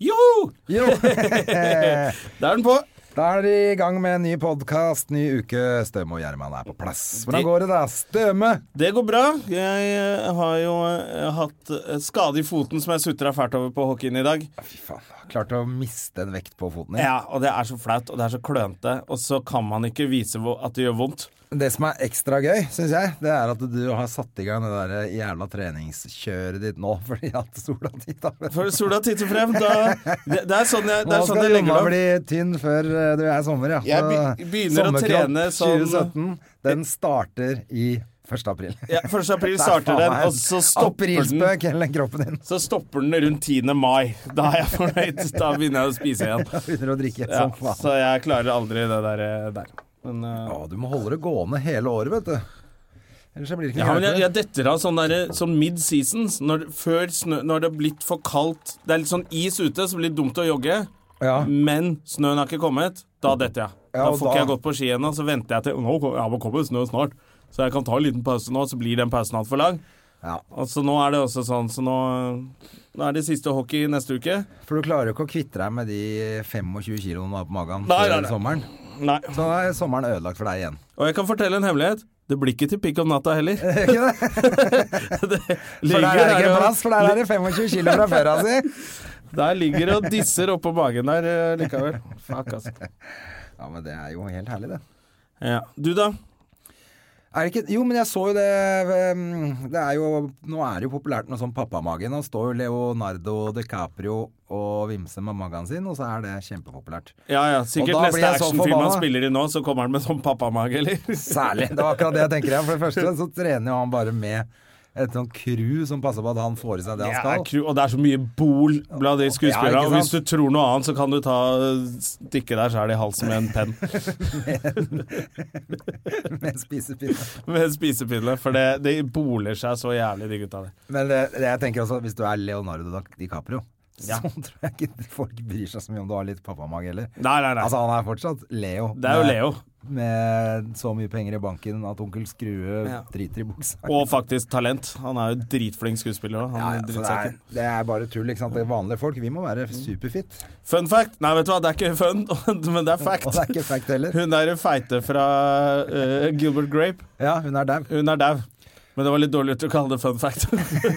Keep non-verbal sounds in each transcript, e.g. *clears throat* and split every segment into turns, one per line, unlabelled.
Jo!
Jo, *laughs*
Da er den på.
da er de i gang med en ny podkast, ny uke. Støme og Gjerman er på plass. Hvordan går det da? Støme!
Det går bra. Jeg eh, har jo eh, hatt eh, skade i foten som jeg sutra fælt over på hockeyen i dag.
Fy faen, klarte å miste en vekt på foten din.
Ja, Og det er så flaut, og det er så klønete, og så kan man ikke vise hvor- at det gjør vondt.
Det som er ekstra gøy, syns jeg, det er at du har satt i gang det der jævla treningskjøret ditt nå *laughs* fordi at sola titta
For sola titter frem,
*laughs*
da Det, det er sånn jeg, det
Nå
er sånn
skal
jeg legger
Jonna
det opp.
bli tynn før eh, det er sommer, ja.
Jeg
Så
be- begynner å
sommerkropp
trene sånn-
2017, den starter i 1. april.
Ja, 1. april
*laughs* Det er
starter
faen
den,
meg
og så stopper den
Aprilspøk, hele den kroppen din.
Så stopper den rundt 10. mai. Da er jeg fornøyd. Da begynner jeg å spise
*laughs*
igjen.
Begynner å drikke
Ja,
som faen.
så jeg klarer aldri det der. eh, der. Men, eh,
Å, du må holde det gående hele året, vet du. Ellers så blir det ikke
ja,
noe
men jeg,
hjelp.
jeg detter av sånn, der, sånn mid-season. Når, før snø, når det har blitt for kaldt Det er litt sånn is ute, så det blir dumt å jogge.
Ja,
Men snøen har ikke kommet. Da detter jeg.
Ja,
Da
og
får ikke
da-
jeg gått på ski ennå. Så venter jeg til Nå ko- ja, men kommer snø snart. Så jeg kan ta en liten pause nå, så blir den pausen altfor lang.
Ja.
Og så nå er det også sånn, så nå, nå er det siste hockey neste uke.
For du klarer jo ikke å kvitte deg med de 25 kiloene du har på magen
Nei, nei,
før
nei.
sommeren.
Nei.
Så da er sommeren ødelagt for deg igjen.
Og jeg kan fortelle en hemmelighet. Det blir ikke til pikk om natta heller.
Er
*laughs*
*laughs* ikke det? For der er det ikke plass, for der er det 25 kilo fra før av si.
Der ligger det og disser oppå magen der eh, likevel. Fuck, ass.
Ja, men det er jo helt herlig, det.
Ja. Du, da?
Er det ikke, jo, men jeg så jo det ehm, Det er jo Nå er det jo populært med sånn pappamage. Nå står jo Leonardo DiCaprio og vimser med magen sin, og så er det kjempepopulært.
Ja ja, sikkert
Og da blir
neste
jeg så
actionfilm han
forbanna.
spiller i nå, så kommer han med sånn pappamage, eller?
Særlig. Det var akkurat det jeg tenker. ja. For det første så trener jo han bare med et sånn crew som passer på at han får i seg det han
Ja,
skal.
kru- og det er så mye bol blant de skuespillerne.
Ja, ikke
og hvis du
sant?
tror noe annet, så kan du ta stikke deg sjæl i halsen med en penn. *laughs*
med en spisepinne.
Med en spisepinne. For det, det boler seg så jævlig, de gutta der.
Men det, det jeg tenker også, hvis du er Leonardo da- DiCaprio,
Ja.
så tror jeg ikke folk bryr seg så mye om du har litt pappamage heller.
Nei, nei, nei.
Altså, han er fortsatt Leo.
det er jo
Med-
Leo.
Med så mye penger i banken at onkel Skrue
Ja.
driter i buksa.
Og faktisk talent. Han er jo dritflink skuespiller òg.
Ja, ja, så det, er, det er bare tull. ikke sant? Det er vanlige folk. Vi må være superfit.
Fun fact. Nei, vet du hva, det er ikke fun, *laughs* men det er fact.
Og det er ikke fact heller.
Hun der feite fra eh, Gilbert Grape,
Ja, hun er dau.
hun er dau. Men det var litt dårlig gjort å kalle det fun fact.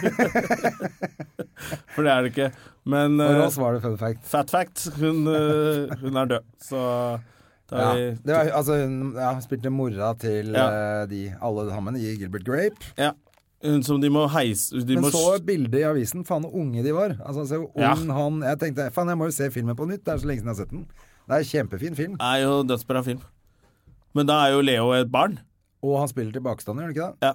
*laughs* For det er det ikke. Men
Og
eh,
Ross var det fun fact.
fat fact, hun, eh, hun er død. Så da
Ja,
er
det
vi
var, altså, hun ja, hun spilte mora til
Ja.
eh, de, alle sammen i Gilbert Grape.
ja, Hun som de må heise de
Men
må,
så et bilde i avisen. Faen, hvor unge de var. Altså, se hvor ung
Ja.
han Jeg tenkte faen, jeg må jo se filmen på nytt. Det er så lenge siden jeg har sett den. Det er en kjempefin film.
Er jo dødsbra film. Men da er jo Leo et barn.
Og han spiller tilbakestander, gjør han ikke det?
Ja.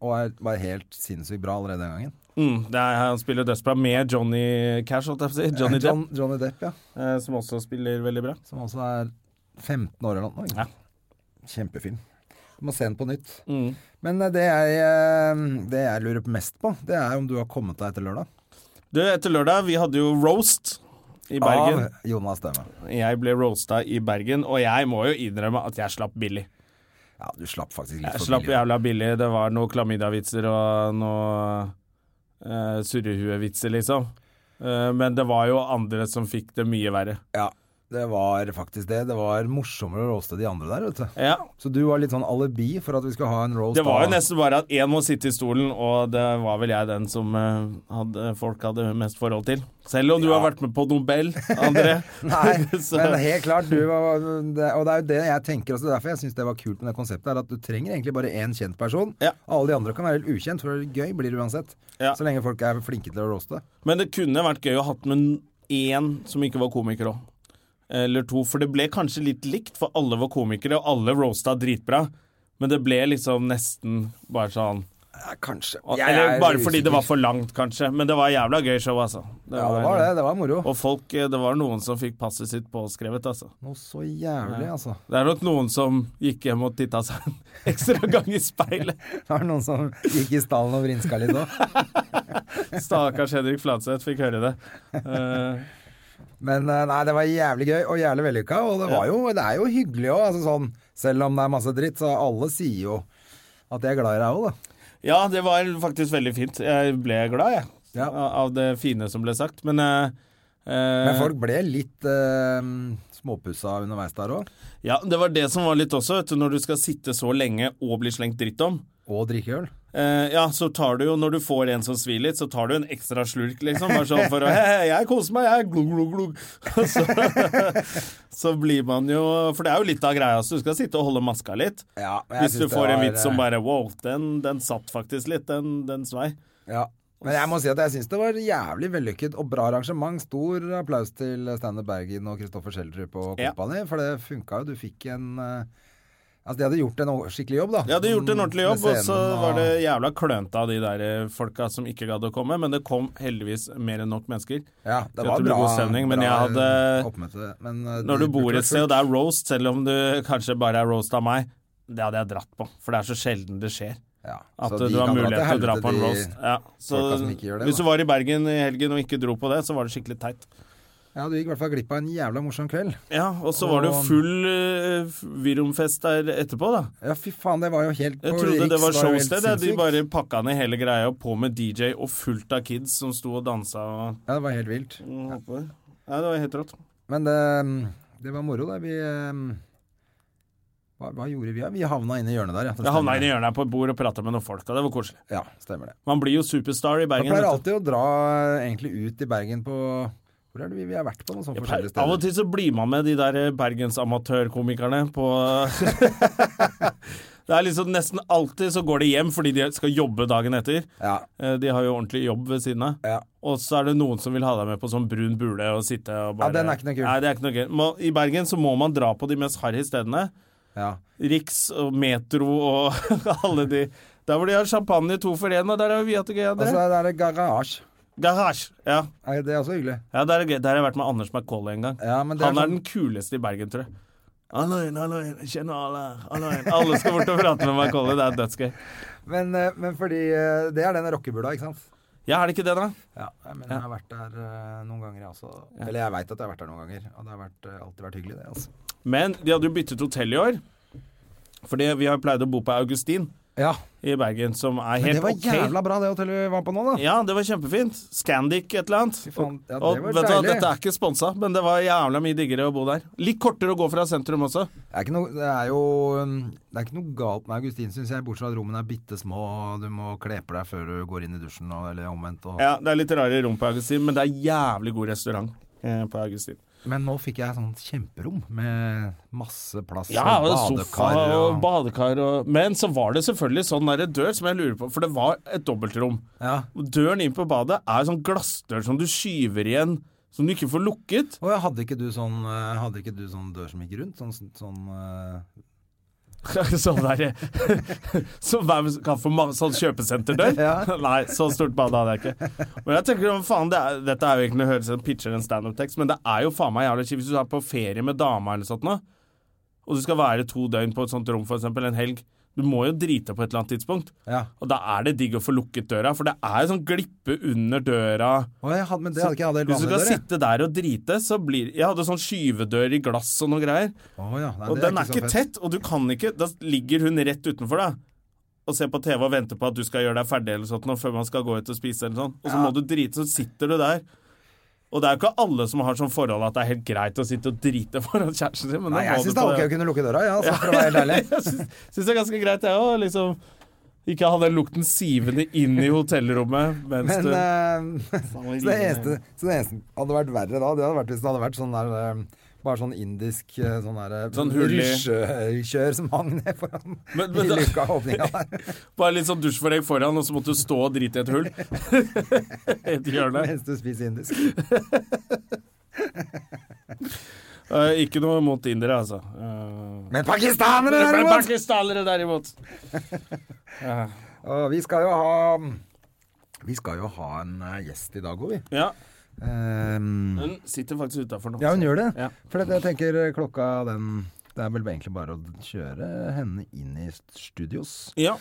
Og er, var helt sinnssykt bra allerede den gangen.
Mm, det er, han spiller dødsbra med Johnny Cash, holdt jeg på å si. Johnny Depp,
John, Johnny Depp, ja.
eh, som også spiller veldig bra.
Som også er 15 år eller noe. ikke sant? Kjempefilm. Du må se den på nytt.
Mm.
Men eh, det jeg, eh, det jeg lurer mest på, det er om du har kommet deg etter lørdag.
Du, etter lørdag, vi hadde jo roast
Ah,
i Bergen.
Av Jonas Støme.
Jeg ble roasta i Bergen, og jeg må jo innrømme at jeg slapp billig.
Ja, du slapp faktisk litt
Jeg
for
slapp
billig.
jævla billig. Det var noen klamydia-vitser og noen uh, surrehue-vitser, liksom. Eh, men det var jo andre som fikk det mye verre.
Ja, det var faktisk det. Det var morsommere å roaste de andre der, vet du.
Ja,
Så du var litt sånn alibi for at vi skal ha en roast
Det var jo
av-
nesten bare at én må sitte i stolen, og det var vel jeg den som eh, hadde, folk hadde mest forhold til. Selv om du har vært med på Nobel, André.
*laughs* *laughs*
*laughs*
Nei,
Så-
men helt klart, du var det- Og det er jo det jeg tenker også, derfor jeg syns det var kult med det konseptet, er at du trenger egentlig bare én kjent person.
Ja.
Alle de andre kan være helt ukjent, for det er gøy blir det uansett.
Ja.
Så lenge folk er flinke til å roaste.
Men det kunne vært gøy å hatt med én som ikke var komiker òg. Eller to. For det ble kanskje litt likt, for alle var komikere, og alle roasta dritbra. Men det ble liksom nesten bare sånn
Ja, kanskje.
Og-
Jeg
Eller
er
bare fordi det
usikker.
var for langt, kanskje. Men det var jævla gøy show, altså.
Ja, det var det. Det var moro.
Og folk, eh, det var noen som fikk passet sitt påskrevet, altså.
Noe så jævlig,
Ja.
altså. *laughs*
Det er nok noen som gikk hjem og titta seg en *laughs* ekstra gang i speilet.
Det var noen som gikk i stallen og vrinska litt òg.
Stakkars Henrik Fladseth fikk høre det. Eh,
Men eh, nei, det var jævlig gøy og jævlig vellykka, og det, var jo, det er jo hyggelig òg. Altså sånn, selv om det er masse dritt, så alle sier jo at de er glad i deg òg, da.
ja, det var faktisk veldig fint. Jeg ble glad, jeg.
Ja.
Av av det fine som ble sagt. Men, eh, eh,
Men folk ble litt eh, småpussa underveis der òg,
Ja, det var det som var litt også, vet du. Når du skal sitte så lenge og bli slengt dritt om.
og drikke øl.
Eh, ja, så tar du jo, når du får en som svir litt, så tar du en ekstra slurk, liksom. Bare sånn for å *laughs* Hei, hei, jeg koser meg, jeg. Glug, glug, glug. *laughs* Og Så, så blir man jo For det er jo litt av greia, så du skal sitte og holde maska litt.
Ja, men jeg
Hvis
synes
du
det
får en
var,
vits som
eh,
bare wow, den, den satt faktisk litt, den, den svei.
Ja. Men jeg må si at jeg syns det var jævlig vellykket og bra arrangement. Stor applaus til Steinar Bergen og Kristoffer Schjelderup og
Ja.
kompani, for det funka jo. Du fikk en eh, Altså, de hadde gjort en o- skikkelig jobb, da.
Ja, de gjorde en ordentlig
Med
jobb, og så
scenen
var det jævla klønete av de der eh, folka som ikke gadd å komme, men det kom heldigvis mer enn nok mennesker.
Ja,
Til at
det var
det ble
bra,
god stemning, men
bra
jeg hadde-
oppmøte, men, eh,
Når
det
du bor
burde
et
vært
sted og
fullt.
det er roast, selv om du kanskje bare er roast av meg, det hadde jeg dratt på, for det er så sjelden det skjer.
Ja,
At
så
du
de
har
kan dra
mulighet til å dra
helvete,
på en
de-
roast. Ja, så
folka som ikke gjør det,
hvis
da.
du var i Bergen i helgen og ikke dro på det, så var det skikkelig teit.
Ja, du gikk i hvert fall glipp av en jævla morsom kveld.
Ja, og så var det jo
Og-
full uh, virumfest der etterpå, da.
Ja, fy faen, det var jo
Jeg
helt på
trodde det
Riks
var
jo helt
showsted, ja. de
sinnssykt.
bare pakka ned hele greia og på med DJ og fullt av kids som sto og dansa og
Ja, det var helt vilt.
ja. det var helt rått.
Men det, det var moro, da. Vi eh, hva, hva gjorde vi? Ja, vi havna inne i hjørnet der, ja. Det
Jeg havna
stemmer.
inn i hjørnet her på et bord og prata med noen folk, og det var koselig.
Ja, stemmer det.
Man blir jo superstar i
Man
Bergen.
pleier
vet du.
alltid å dra eh, egentlig ut i Bergen på Hvor er det vi, vi har vært på? Noen sånne forskjellige
Av og
steder.
til så blir man med de der eh, bergensamatørkomikerne på
*laughs*
Det er liksom nesten alltid så går de hjem fordi de skal jobbe dagen etter.
Ja,
Eh, De har jo ordentlig jobb ved siden av.
ja.
Og så er det noen som vil ha deg med på sånn brun bule og sitte og bare
Ja, den er ikke noe kul.
Nei, det er ikke noe kul. Må- I Bergen så må man dra på de mest harry stedene.
ja.
Riks og Metro og *laughs* alle de Der hvor de har champagne to for én, og der har vi hatt det gøy.
Og så
André.
Altså, er det garasje.
Garasje. Ja.
Er det er også hyggelig.
ja, der er det gøy. Der har jeg vært med Anders McCauley en gang.
Ja, men det er
Han er
sånn-
den kuleste i Bergen, tror jeg. Halloin, halloin, jeg kjenner alle her. Halloin. Alle skal bort og prate med Macauley, det er dødsgøy.
Men, eh, men fordi eh, Det er den rockebula, ikke sant?
Ja, er det ikke det, da?
Ja, men jeg har vært der eh, noen ganger, jeg også. Eller jeg veit at jeg har vært der noen ganger. Og det har vært, eh, alltid vært hyggelig, det, altså.
Men de hadde jo byttet hotell i år. Fordi vi har pleid å bo på Augustin
Ja,
i Bergen, som er
men
helt
det var
ok.
jævla bra, det hotellet vi var på nå, da.
Ja, det var kjempefint. Scandic et eller annet.
Fy faen, ja, det
og
var
vet du hva,
deilig.
dette er ikke sponsa, men det var jævla mye diggere å bo der. Litt kortere å gå fra sentrum også.
Det er, ikke noe, det er jo um, Det er ikke noe galt med Augustin, syns jeg, bortsett fra at rommene er bitte små, og du må kle på deg før du går inn i dusjen, og, eller omvendt. Og.
Ja, det er litt rare rom på Augustin, men det er jævlig god restaurant eh, på Augustin.
Men nå fikk jeg sånn kjemperom med masse plass
Ja, og sofa og badekar og Men så var det selvfølgelig sånn derre dør som jeg lurer på, for det var et dobbeltrom.
ja.
Og Døren inn på badet er sånn glassdør som du skyver igjen, som du ikke får lukket.
Og hadde ikke, du sånn, eh, hadde ikke du sånn dør som gikk rundt? Sånn, sånn, sånn eh,
*laughs* sånn der Som hvem kan få ma- sånn kjøpesenterdør?
Ja.
*laughs* Nei, så stort bad hadde jeg ikke. Men jeg tenker om faen, det er, Dette er jo egentlig å høre som pitcher en standup-tekst, men det er jo faen meg jævlig kjipt hvis du er på ferie med dama eller sånt nå, og du skal være to døgn på et sånt rom, for eksempel en helg. Du må jo drite på et eller annet tidspunkt.
Ja.
Og da er det digg å få lukket døra, for det er en sånn glippe under døra.
Å, jeg hadde, men det hadde ikke jeg hadde helt
Hvis du
vanlig
skal
dør, jeg.
sitte der og drite, så blir Jeg hadde sånn skyvedør i glass og noe greier.
Å ja, nei,
Og
det
den er
så
ikke
fett.
tett, og du kan ikke Da ligger hun rett utenfor deg og ser på TV og venter på at du skal gjøre deg ferdig eller sånt, nå, før man skal gå ut og spise eller sånn. Og så må du drite, så sitter du der. Og det er jo ikke alle som har sånn forhold at det er helt greit å sitte og drite foran kjæresten sin, men
Nei,
da
jeg
må
syns
du
det
på
var ok å
det.
kunne lukke døra, ja, altså, for å
*laughs*
være helt ærlig.
jeg syns syns det er ganske greit, jeg òg. Liksom, ikke ha den lukten sivende inn i hotellrommet mens
Men
du
eh, *laughs* så, det eneste, så det eneste hadde vært verre da, det hadde vært hvis det hadde vært sånn der eh, bare sånn indisk eh, sånn der eh,
Sånn hull i-
rusjekjør som hang ned foran
Men- men
i
da-
luka
*laughs*
åpninga der.
Bare litt sånn dusjforheng foran, og så måtte du stå og drite i et hull. *laughs* et hjørne.
Mens du spiser indisk.
Eh, ikke noe mot indere, altså. Eh,
Men pakistanere,
men
derimot!
pakistanere, derimot! Eh,
Og vi skal jo ha Vi skal jo ha en eh, gjest i dag òg, vi.
Ja,
Ehm,
hun sitter faktisk utafor nå.
ja, hun gjør det.
Ja.
For det- jeg tenker eh, klokka den Det er vel egentlig bare å kjøre henne inn i studios.
Ja,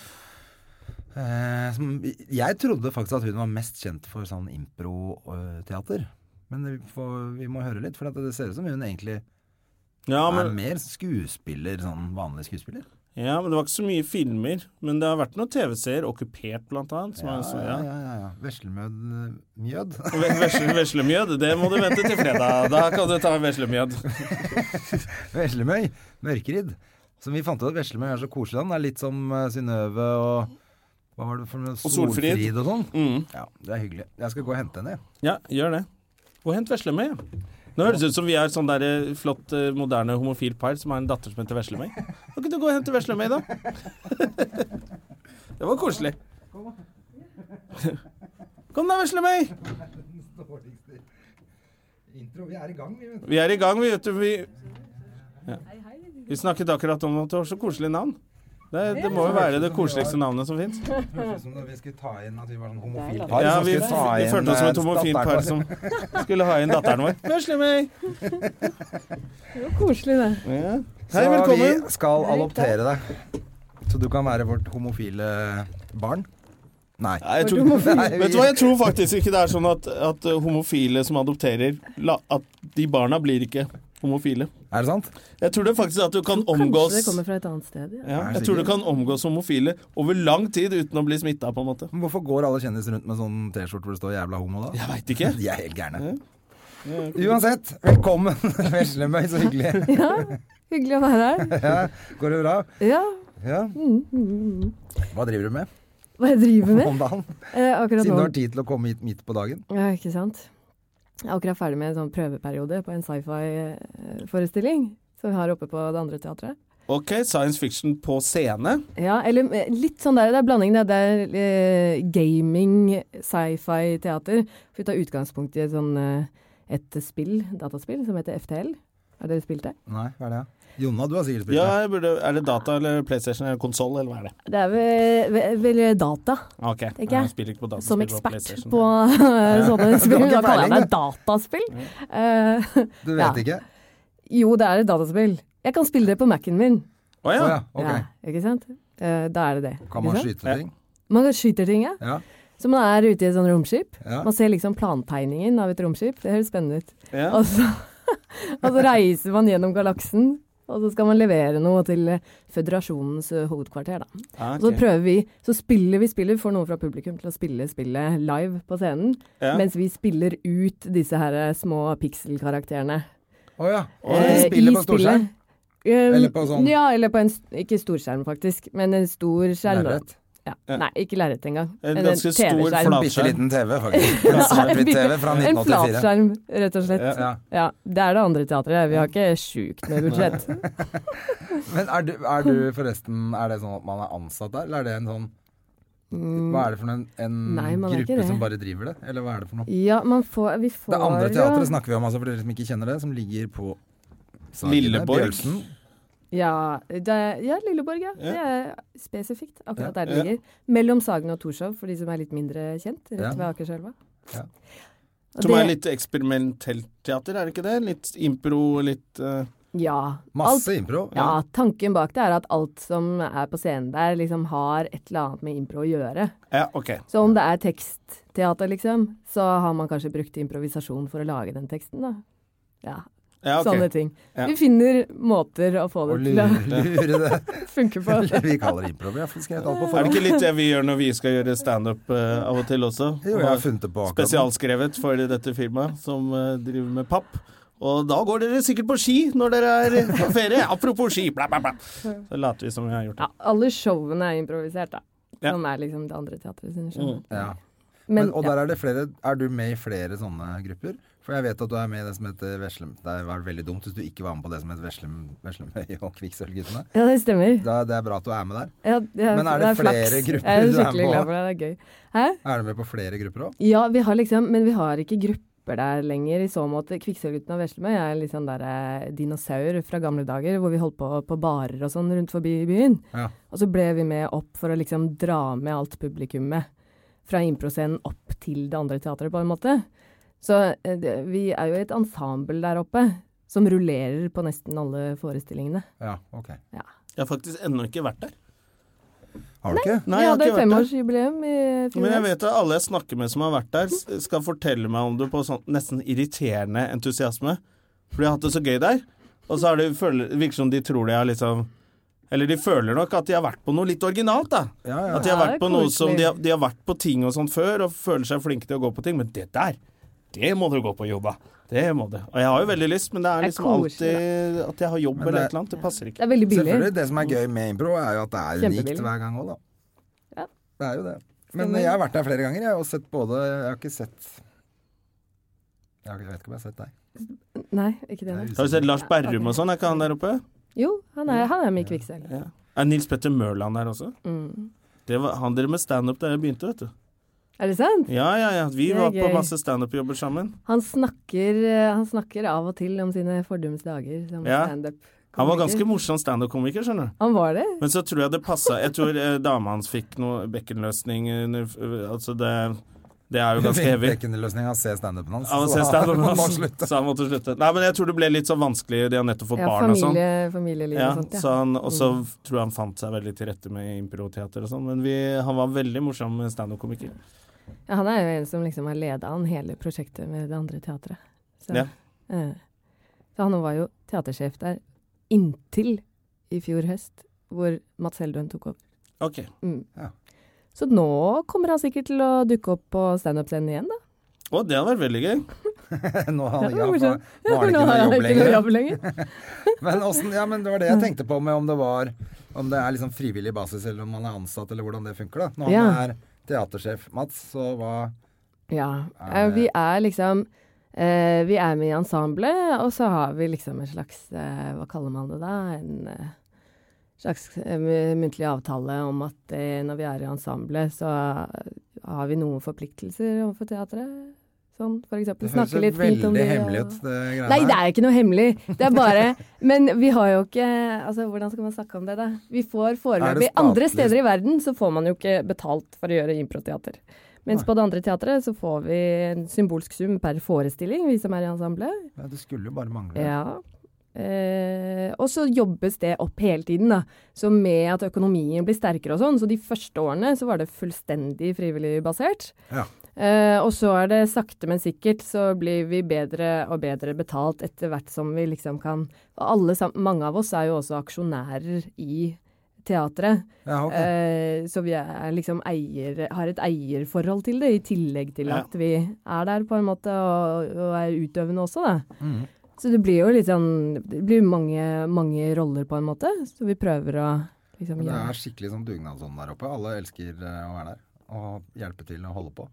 Eh, som, jeg trodde faktisk at hun var mest kjent for sånn impro-teater. Men vi, får, vi må høre litt, for at det ser ut som hun egentlig
ja,
er
men,
mer skuespiller, sånn vanlig skuespiller.
ja, men det var ikke så mye filmer. Men det har vært noen TV-seere, Okkupert blant annet. Som er, så, Altså, ja.
ja, ja, ja. Veslemød Mjød. *laughs*
Ve- vesle- Veslemjød, det må du vente til *laughs* fredag. Da kan du ta veslemjød.
Veslemøy, Mørkrid. Som vi fant ut at Veslemøy er så koselig. Han er litt som eh, Synnøve og hva var det for noe?
Solfrid.
og sånn.
Mm.
Ja, det er hyggelig. Jeg skal gå og hente henne. *laughs* jeg.
Ja, gjør det. Og hent Veslemøy. ja. Nå høres det ut som vi er et sånn der eh, flott, eh, moderne homofil par som har en datter som heter Veslemøy. Kan ikke du gå og hente Veslemøy, da? *laughs* Det var koselig. Kom da, Veslemøy!
Intro, vi er i gang, vi, vet du.
Vi er i gang, vi, vet du. Vi, ja. vi snakket akkurat om at det var så koselig navn. Det, det må jo være det koseligste navnet som fins.
Hørtes ut som da vi skulle ta inn at vi var sånn homofil par.
Ja,
som
vi,
skulle ta
vi
inn,
følte oss som
eh,
et homofilt
datteren
par
vår.
som skulle ha inn datteren vår. Veslemøy!
Koselig, det.
Ja.
Så
Hei, velkommen.
vi skal adoptere deg. Så du kan være vårt homofile barn. Nei.
Nei, jeg tror,
*laughs* Nei, vi-
vet du hva, jeg tror faktisk ikke det er sånn at, at homofile som adopterer la, At de barna blir ikke homofile.
Er det sant?
Jeg tror det er faktisk at du kan omgås
Kanskje det kommer fra et annet sted. Ja.
ja,
Er det
Jeg tror du
sikkert?
kan omgås homofile over lang tid uten å bli smitta, på en måte.
Men Hvorfor går alle kjendiser rundt med sånn T-skjorte hvor det står 'jævla homo' da?
Jeg veit ikke.
De er helt gærne. Uansett, velkommen. *laughs* Veslemøy, så hyggelig.
ja, hyggelig å være her.
Ja, går det bra?
*laughs* Ja,
Ja. Hva driver du med
hva jeg driver *laughs* med
om dagen?
eh, akkurat
Siden du
nå.
har tid til å komme hit midt på dagen.
Ja, ikke sant. Jeg er akkurat ferdig med en sånn prøveperiode på en sci-fi-forestilling som vi har oppe på det andre teatret.
OK, science fiction på scene.
Ja, eller eh, litt sånn der, det er blanding, det. Det er eh, gaming, sci-fi-teater. For vi tar utgangspunkt i et sånn eh, et spill, dataspill, som heter FTL. Har dere spilt det?
Nei, hva er det? Jonna, du har sikkert spilt
Ja, jeg burde, Er det data eller PlayStation eller konsoll, eller hva er det?
Det er vel, vel, vel data.
OK,
Ikke?
jeg spiller ikke på data.
Som
spiller på
ekspert
PlayStation.
på *laughs* sånne spill.
ikke
Da kaller jeg
peiling,
meg dataspill. Eh, *laughs*
det. Du vet
ja.
ikke?
jo, det er et dataspill. Jeg kan spille det på Mac-en min.
Å
Å
ja.
ja, ok.
Ja, ikke sant? Eh, da er det det.
Kan
ikke
man
sant?
skyte ting?
Man kan skyte ting, ja.
Ja.
Så man er ute i et sånt romskip.
Ja.
Man ser liksom plantegningen av et romskip. Det høres spennende ut.
ja.
Og så, *laughs* og så reiser man gjennom galaksen, og så skal man levere noe til eh, Føderasjonens eh, hovedkvarter, da.
Ah,
Og så
ok.
prøver vi, så spiller vi spillet, får noen fra publikum til å spille spillet live på scenen,
Ja.
mens vi spiller ut disse her eh, små pikselkarakterene.
Å ja.
eh,
Og spillet på storskjerm?
Um,
Eller på sånn-
Ja, eller på en, s- ikke storskjerm faktisk, men en stor skjerm. da.
Lerret.
Ja.
Ja.
Nei, ikke lerret engang.
En
men
ganske stor
TV-skjerm. *laughs*
flat-
Bitte liten TV, faktisk. En svart-hvitt TV fra
En
1984.
flatskjerm, rett og slett.
Ja.
Ja.
Ja.
Det er det andre teatret. Vi har ikke
*laughs*
sjukt med budsjett.
Men er du, er du forresten Er det sånn at man er ansatt der, eller er det en sånn
Mm.
Hva er det for en, en
Nei, man er ikke
gruppe
det.
som bare driver det, eller hva er det for noe?
Ja, man får Vi får
Det andre
jo-
teatret snakker vi om, altså, for dere som ikke kjenner det, som ligger på Sagene,
Lilleborg.
Bjølsen.
Ja, det, er- ja Lilleborg, ja. Det er spesifikt akkurat der det
Ja.
ligger. Mellom Sagen og Torshov, for de som er litt mindre kjent,
Ja.
rett ved Akerselva.
Ja.
Og
Som
det-
er litt eksperimentelt teater, er det ikke det? Litt impro, litt eh,
Ja.
Masse impro.
Ja, tanken bak det er at alt som er på scenen der, liksom har et eller annet med impro å gjøre.
Ja, OK.
Så om det er tekstteater, liksom, så har man kanskje brukt improvisasjon for å lage den teksten, da. Ja,
Ja, ok.
sånne ting.
Ja.
Vi finner måter å få
Og
det til
lure,
å
*laughs* lure det
*laughs* funke
*laughs*
*laughs*
på.
Vi kaller det impro. Vi har skrevet alt
Er
på
det
forhånd.
ikke litt det vi gjør når vi skal gjøre standup uh, av og til også?
Jo, jeg har funnet det på akkurat.
Spesialskrevet for dette firmaet som eh, driver med papp. Og da går dere sikkert på ski når dere er på ferie. Apropos ski, bla, bla, bla. Så later vi som vi har gjort det.
Ja, alle showene er improvisert, da.
Ja.
Som er liksom det andre teatret sine show.
Mm.
Ja.
Men,
Men, og
ja.
der er det flere Er du med i flere sånne grupper? For jeg vet at du er med i det som heter Veslem Det var veldig dumt hvis du ikke var med på det som het Veslem, Veslemøy og Kvikksølvguttene.
ja, det stemmer.
Da- Det er bra at du er med der.
Ja, ja,
Men er det
flaks.
flere grupper
Jeg er
du er
skikkelig
på?
glad for det. Det er gøy. Hæ?
Er du med på flere grupper òg?
Ja, vi har liksom Men vi har ikke gruppe hopper der lenger i så måte. Kvikksølvgutten av Veslemøy er litt sånn der eh, dinosaur fra gamle dager, hvor vi holdt på på barer og sånn rundt forbi byen.
Ja.
Og så ble vi med opp for å liksom dra med alt publikummet fra improscenen opp til det andre teatret, på en måte. Så eh, det, vi er jo et ensemble der oppe som rullerer på nesten alle forestillingene.
Ja, ok.
Jeg har faktisk ennå ikke vært der.
Har du ikke?
Nei,
vi
jeg har
hadde
ikke vært der.
femårsjubileum i fjor.
Men jeg vet at alle jeg snakker med som har vært der, s- skal fortelle meg om det på sånn nesten irriterende entusiasme. For de har hatt det så gøy der. Og så er det, føler, virker som de tror de har liksom Eller de føler nok at de har vært på noe litt originalt, da.
Ja, ja.
At de har
Ja,
vært
det er
på noe som
koselig.
de har, de har vært på ting og sånn før, og føler seg flinke til å gå på ting. Men det der, det må du gå på jobb av. Det må du. Og jeg har jo veldig lyst, men det er
Det er
liksom
koselig,
alltid at jeg har jobb
Men
eller
det-
et eller annet. Det passer ikke.
Det er veldig billig.
Selvfølgelig. Det som er gøy med impro, er jo at det er unikt
Kjempebillig.
hver gang òg, da.
Ja.
Det er jo det. Men
Stemmer.
jeg har vært der flere ganger, jeg, og sett både Jeg har ikke sett Jeg har ikke- jeg vet ikke om jeg har sett deg.
Nei, ikke
Jeg er
det. nei.
Har du
usikker.
sett Lars Berrum og sånn? Er ikke han der oppe?
Jo, han er, han er med i Kvikksølv.
Ja. Er Nils Petter Mørland der også?
Mm.
Det var han dere med standup da jeg begynte, vet du.
Er det sant?
Ja, ja, ja. Vi
Det er
var på
gøy.
masse standup-jobber sammen.
Han snakker, eh, han snakker av og til om sine fordums dager som
Ja.
standup.
Han var ganske morsom standup-komiker, skjønner du.
Han var det?
Men så tror jeg det passa Jeg tror eh, dama hans fikk noe bekkenløsning under eh, Altså, det, det er jo ganske heavy. *laughs*
Løsninga se standupen hans.
Ja, men se
så
standupen
*laughs* må
hans.
slutte.
Så han måtte slutte. Nei, men jeg tror det ble litt sånn vanskelig. De har nettopp fått
Ja,
barn og sånn.
familie, familieliv
Ja,
og sånt. Ja. Mm.
så han, og så tror jeg han fant seg veldig til rette med improteater og sånn. Men vi, han var veldig morsom standup-komiker.
ja, han er jo en som liksom har leda an hele prosjektet med det andre teatret. Så,
Ja.
eh, så han var jo teatersjef der inntil i fjor høst, hvor Mats Helduen tok opp.
Ok.
Så nå kommer han sikkert til å dukke opp på standup-scenen igjen, da.
Å, det hadde vært veldig gøy.
Nå har han
Det
ikke,
var
han
morsomt.
får- nå har han ikke noe
har han
jobb
ikke noe
lenger.
jobb lenger.
Men, åssen- ja, men det var det jeg tenkte på med om det var Om det er liksom frivillig basis, eller om man er ansatt, eller hvordan det funker, da. Når
Ja.
han er teatersjef, Mats, så hva
Ja.
Er
eh,
det-
Vi er liksom eh, Vi er med i ensemblet, og så har vi liksom en slags eh, Hva kaller man det da? En eh, slags eh, mu- muntlig avtale om at eh, når vi er i ensemblet, så eh, har vi noen forpliktelser overfor teatret. Sånn for
Det
eksempel.
høres
Snakke
jo
litt fint om
veldig
det.
hemmelig
og-
ut, det greiene
Nei, det
her.
er ikke noe hemmelig. Det er bare Men vi har jo ikke Altså, hvordan skal man snakke om det, da? Vi får
statlig?
foreløpig Andre steder i verden så får man jo ikke betalt for å gjøre improteater. Mens på det andre teatret så får vi en symbolsk sum per forestilling, vi som er i ensemblet.
Ja, det skulle jo bare mangle.
Ja. Eh, og så jobbes det opp hele tiden, da. Så med at økonomien blir sterkere og sånn. Så de første årene så var det fullstendig frivillig basert.
Ja.
Eh, og så er det sakte, men sikkert så blir vi bedre og bedre betalt etter hvert som vi liksom kan og alle sammen, Mange av oss er jo også aksjonærer i teatret.
Ja, ok.
Eh, så vi er liksom eier, har et eierforhold til det, i tillegg til
Ja.
at vi er der på en måte og, og er utøvende også, da.
Mhm.
Så det blir jo litt sånn Det blir mange, mange roller på en måte, så vi prøver å liksom
Det
gjøre
er skikkelig sånn dugnadsånd der oppe. Alle elsker eh, å være der og hjelpe til og holde på.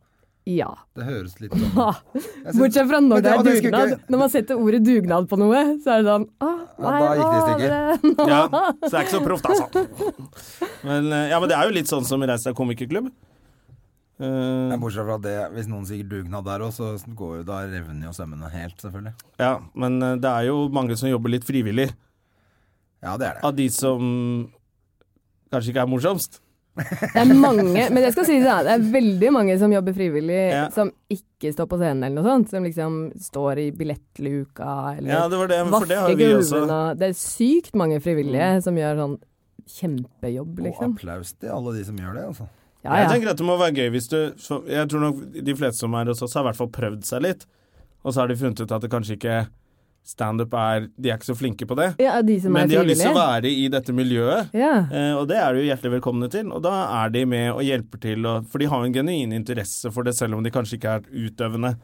Ja.
Det høres litt
*laughs*
sånn Jeg synes-
Ah, Bortsett fra når
Men
det er
og skulle
dugnad.
ikke-
Når man setter ordet dugnad på noe, så er det sånn Å,
Ja,
nei,
da gikk det i
å, *laughs*
stykker.
det-
Ja, så det er ikke så proft, altså. Men, eh, ja, men det er jo litt sånn som Reis deg komikerklubb. Eh,
Men bortsett fra det, hvis noen sier dugnad der òg, så går jo da revner jo sømmene helt, selvfølgelig.
ja, men eh, det er jo mange som jobber litt frivillig.
Ja, det er det.
Av de som kanskje ikke er morsomst.
Det er mange, men jeg skal si det, da, det er veldig mange som jobber frivillig,
Ja.
som ikke står på scenen eller noe sånt. Som liksom står i billettluka eller
Ja, det var det, for det har
vaffer
jo vi
gulven
også. Mm.
og Det er sykt mange frivillige som gjør sånn kjempejobb,
Og
liksom.
applaus til alle de som gjør det, altså.
Ja,
Jeg
ja.
tenker at det må være gøy hvis du så Jeg tror nok de fleste som er hos oss, har i hvert fall prøvd seg litt. Og så har de funnet ut at det kanskje ikke standup er De er ikke så flinke på det.
ja de som
Men
er
de har lyst til å
frivillige.
være i dette miljøet.
Ja.
Eh, og det er du hjertelig velkomne til. Og da er de med og hjelper til, og, for de har jo en genuin interesse for det, selv om de kanskje ikke er utøvende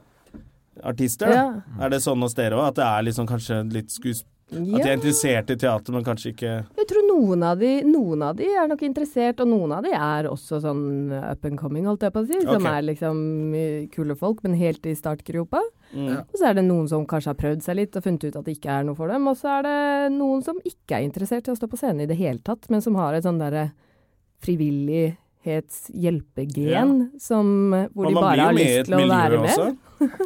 artister. Da. Er det sånn hos dere òg, at det er liksom kanskje litt skuesp... At de
ja.
er interessert i teater, men kanskje ikke
Jeg tror noen av, de, noen av de er nok interessert, og noen av de er også sånn up and coming, holdt jeg på å si. Som
Ok.
er liksom eh, kule folk, men helt i startgropa.
mm.
Og så er det noen som kanskje har prøvd seg litt og funnet ut at det ikke er noe for dem. Og så er det noen som ikke er interessert i å stå på scenen i det hele tatt, men som har et sånn derre frivillighetshjelpegen eh, som eh, hvor
Og
de
man
bare
blir jo
har
med i
lyst
et
til å
miljø
være med.
også.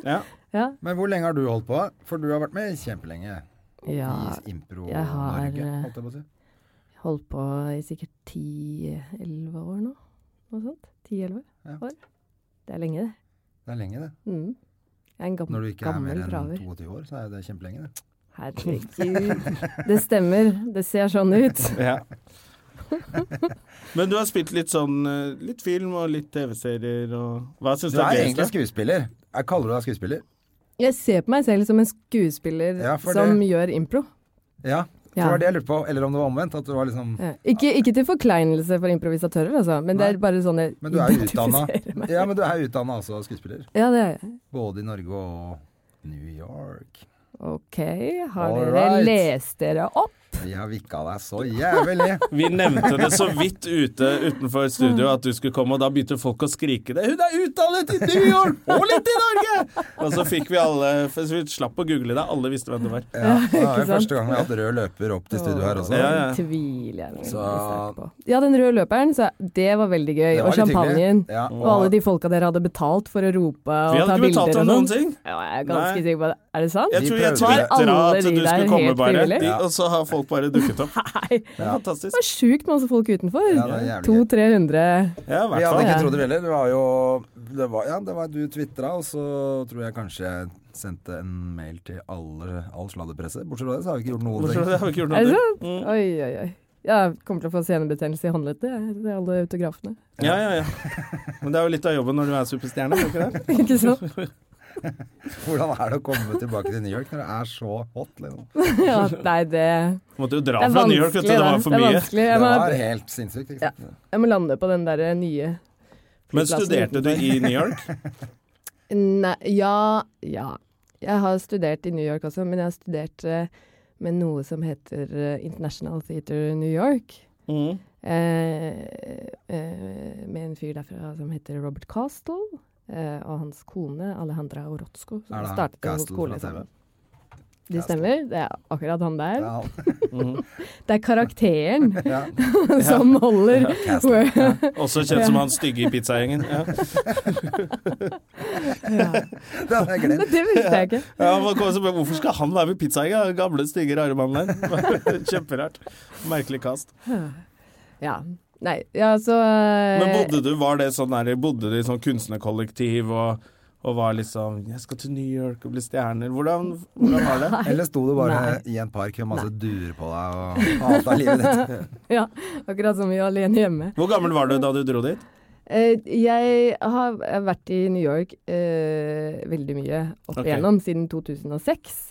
Ja.
Ja.
Men hvor lenge har du holdt på? For du har vært med kjempelenge
ja.
i Impro-Norge.
jeg har, eh,
holdt jeg på å si.
Holdt på i sikkert 10-11 år nå. Noe sånt. 10-11
Ja.
år. Det er lenge, det.
Det er lenge, det.
Mm. Jeg er en gammel,
Når du ikke er
gammel
mer enn
traver.
22 år, så er det kjempelenge, det.
Herregud. Det stemmer. Det ser sånn ut.
Ja.
*laughs*
Men du har spilt litt sånn eh, litt film og litt TV-serier og Hva syns
Du
du
er
er gøyest?
egentlig
da?
skuespiller. Jeg kaller du deg skuespiller?
Jeg ser på meg selv som en skuespiller
Ja, for
som gjør impro.
Ja. Det
Ja.
var det jeg lurte på. Eller om det var omvendt. At du var liksom
Ja. Ikke, ikke til forkleinelse for improvisatører, altså, men det
Nei.
er bare sånn jeg
Men du er jo utdanna.
identifiserer meg.
Ja, men du er utdanna altså skuespiller.
Ja, det er jeg.
Både i Norge og New York.
Ok, har
All
dere
right.
lest dere opp?
Vi har vikka deg så
*laughs*
jævlig.
Vi nevnte det så vidt ute utenfor studio at du skulle komme, og da begynte folk å skrike det. 'Hun er utdannet i New York og litt i Norge!' Og så fikk vi alle for så Vi slapp å google det, alle visste hvem det var.
Ja, det var jo
sant?
første gang vi har hatt rød løper opp til studio her også.
Ja, ja.
Den Tviler jeg veldig
Så-
sterkt på. Ja, den røde løperen, så det var veldig gøy.
Det var
Og
litt
champagnen.
hyggelig. Ja,
Og alle de folka dere hadde betalt for å
Vi
rope og
hadde
ta
ikke betalt
bilder
dem
og
noen
sånn.
ting.
Ja, jeg er ganske
Nei.
sikker på det. Er det sant?
Jeg tror jeg
prøvde.
tvitra
Var alle
at
de
du
der
skulle komme,
helt
bare,
frivillig?
de, og så har folk bare dukket opp.
*laughs* Nei.
Det er
Det
fantastisk.
var sjukt mange folk utenfor.
Ja, det er jævlig gøy.
200-300.
Ja, i
Vi
hvert
hadde
fall.
ikke
Ja.
trodd det heller. Det var jo det var, Ja, det var du tvitra, og så tror jeg kanskje jeg sendte en mail til alle, all sladderpresse. Bortsett fra det, så har vi ikke gjort noen
Hvorfor
ting.
har vi ikke gjort
Er det
noe?
sant? Oi, oi, oi. Jeg kommer til å få senebetennelse i håndleddet, jeg, det er alle autografene. *laughs*
Ja, ja, ja. Men det er jo litt av jobben når du er superstjerne, er det ikke det?
Ikke sant?
*laughs* Hvordan er det å komme tilbake til New York når det er så hot? Liksom?
Ja, nei, det,
Måtte jo
det
dra
er
fra New York, vet
vanskelig.
du. Det
da.
var for
Det er
mye.
vanskelig.
Det
Jeg må,
var helt sinnssykt. Ikke sant?
jeg må lande på den derre nye
Men
flyplassen
studerte du i New
*laughs*
York?
Nei, ja, ja. Jeg har studert i New York også, men jeg har studert eh, med noe som heter eh, International Theatre New York. Mm. Eh, eh, med en fyr derfra som heter Robert Castle, eh, og hans kone Alejandra
Er
Orozco. Som
det han
startet en
Castle
skole
fra TV?
sammen. Det stemmer, det er akkurat han der.
Ja,
Det er karakteren
*laughs* ja.
*laughs* som holder
*laughs*
Også kjent som han stygge i pizzagjengen. Ja.
Det hadde jeg glemt.
*laughs* Det visste jeg ikke.
Ja, man kommer så på, hvorfor skal han være med i pizzagjengen? Den Gamle, stygge, rare mannen der. *laughs* Kjemperart. Merkelig kast.
Ja. Nei, ja, så eh,
Men bodde du var det sånn der, bodde du i sånn kunstnerkollektiv og, og var liksom 'Jeg skal til New York og bli stjerner'. Hvordan, hvordan var det?
Eller sto du bare
Nei.
i en park med masse duer på deg og hata livet
*laughs*
ditt?
Ja, akkurat som vi er alene hjemme.
Hvor gammel var du da du dro dit?
Eh, jeg har vært i New York eh, veldig mye opp
Ok.
igjennom, siden 2006.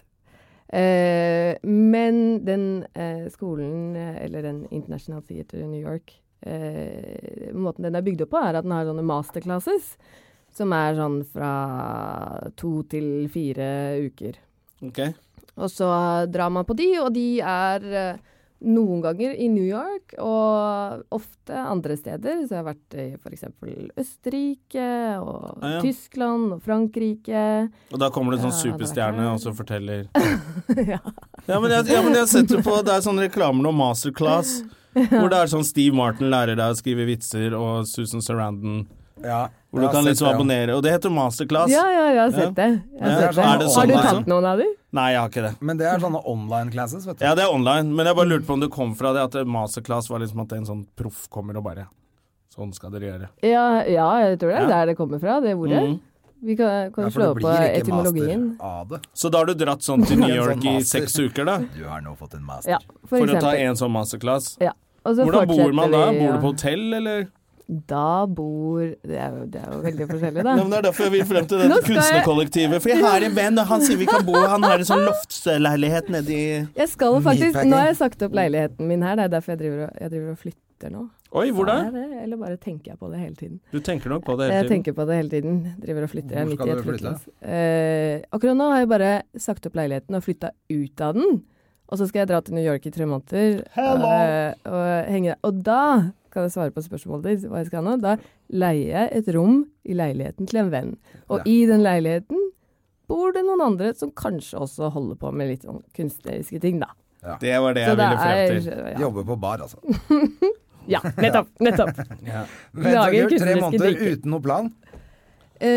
Eh, men den eh, skolen, eh, eller den International Theatre i New York, eh, måten den er bygd opp på, er at den har sånne masterclasses, som er sånn fra to til fire uker.
Ok.
Og så drar man på de, og de er eh, noen ganger i New York, og ofte andre steder. Så jeg har vært i f.eks. Østerrike, og
Ah, ja.
Tyskland og Frankrike.
Og da kommer det en sånn
Ja, det var
superstjerne
ikke-
og så forteller
*laughs* ja.
Ja, men jeg, ja, men jeg setter på Det er sånne reklamer om masterclass, hvor det er sånn Steve Martin lærer deg å skrive vitser, og Susan Sarandon
Ja,
Hvor du
ja,
kan
sett
liksom
det, ja.
abonnere. Og det heter masterclass.
ja, ja, jeg har sett det. Jeg
Ja,
har sett det.
er det sånn
har du
det er
tatt
sånn?
noen av de?
Nei, jeg har ikke det.
Men det er sånne online classes, vet du.
Ja, det er online, men jeg bare lurte på om du kom fra det at masterclass var liksom at en sånn proff kommer og bare Sånn skal dere gjøre.
Ja, ja, jeg tror det er
Ja.
der det kommer fra, det ordet.
Mhm.
Vi kan, kan
Ja, for
slå
det
opp på
blir ikke
etymologien.
master av det.
Så da har du dratt sånn *laughs* til New
En sånn
York i
master.
seks uker, da?
Du har nå fått en master.
Ja,
For
for,
å ta
eksempel.
en sånn masterclass?
Ja. Og så
Hvordan bor man
fortsetter
da?
vi,
Bor
ja.
du på hotell, eller?
Da bor Det er jo, det er jo veldig forskjellig,
Ja,
da.
men det er derfor jeg vil frem til dette
*laughs* Nå skal jeg-
kunstnerkollektivet. For jeg har en venn, og han sier vi kan bo Han har en sånn loftsleilighet nedi
Jeg skal jo faktisk,
Nypacking.
Nå har jeg sagt opp leiligheten min her, det er derfor jeg driver og, jeg driver og flytter nå.
Oi, hvor da?
Er det, eller bare tenker jeg på det hele tiden?
Du tenker nok på det
Jeg
hele tiden.
tenker på det hele tiden. Driver og flytter. Jeg er
Hvor
midt
skal
i et
du flytte?
flyttelass. Eh, akkurat nå har jeg bare sagt opp leiligheten og flytta ut av den. Og så skal jeg dra til New York i tre måneder
Hello!
eh, og henge Og da kan jeg svare på spørsmålet ditt, hva jeg skal nå. Da leier jeg et rom i leiligheten til en venn. Og i den leiligheten bor det noen andre som kanskje også holder på med litt sånn kunstneriske ting, da.
Det var det
Så
jeg
det
ville frem til.
er ja,
Jobber på bar,
*laughs*
altså.
ja, nettopp. Nettopp.
Vent, så
Lager
kult, tre
kunstneriske
måneder
drikker.
uten noe plan.
*laughs* Eh,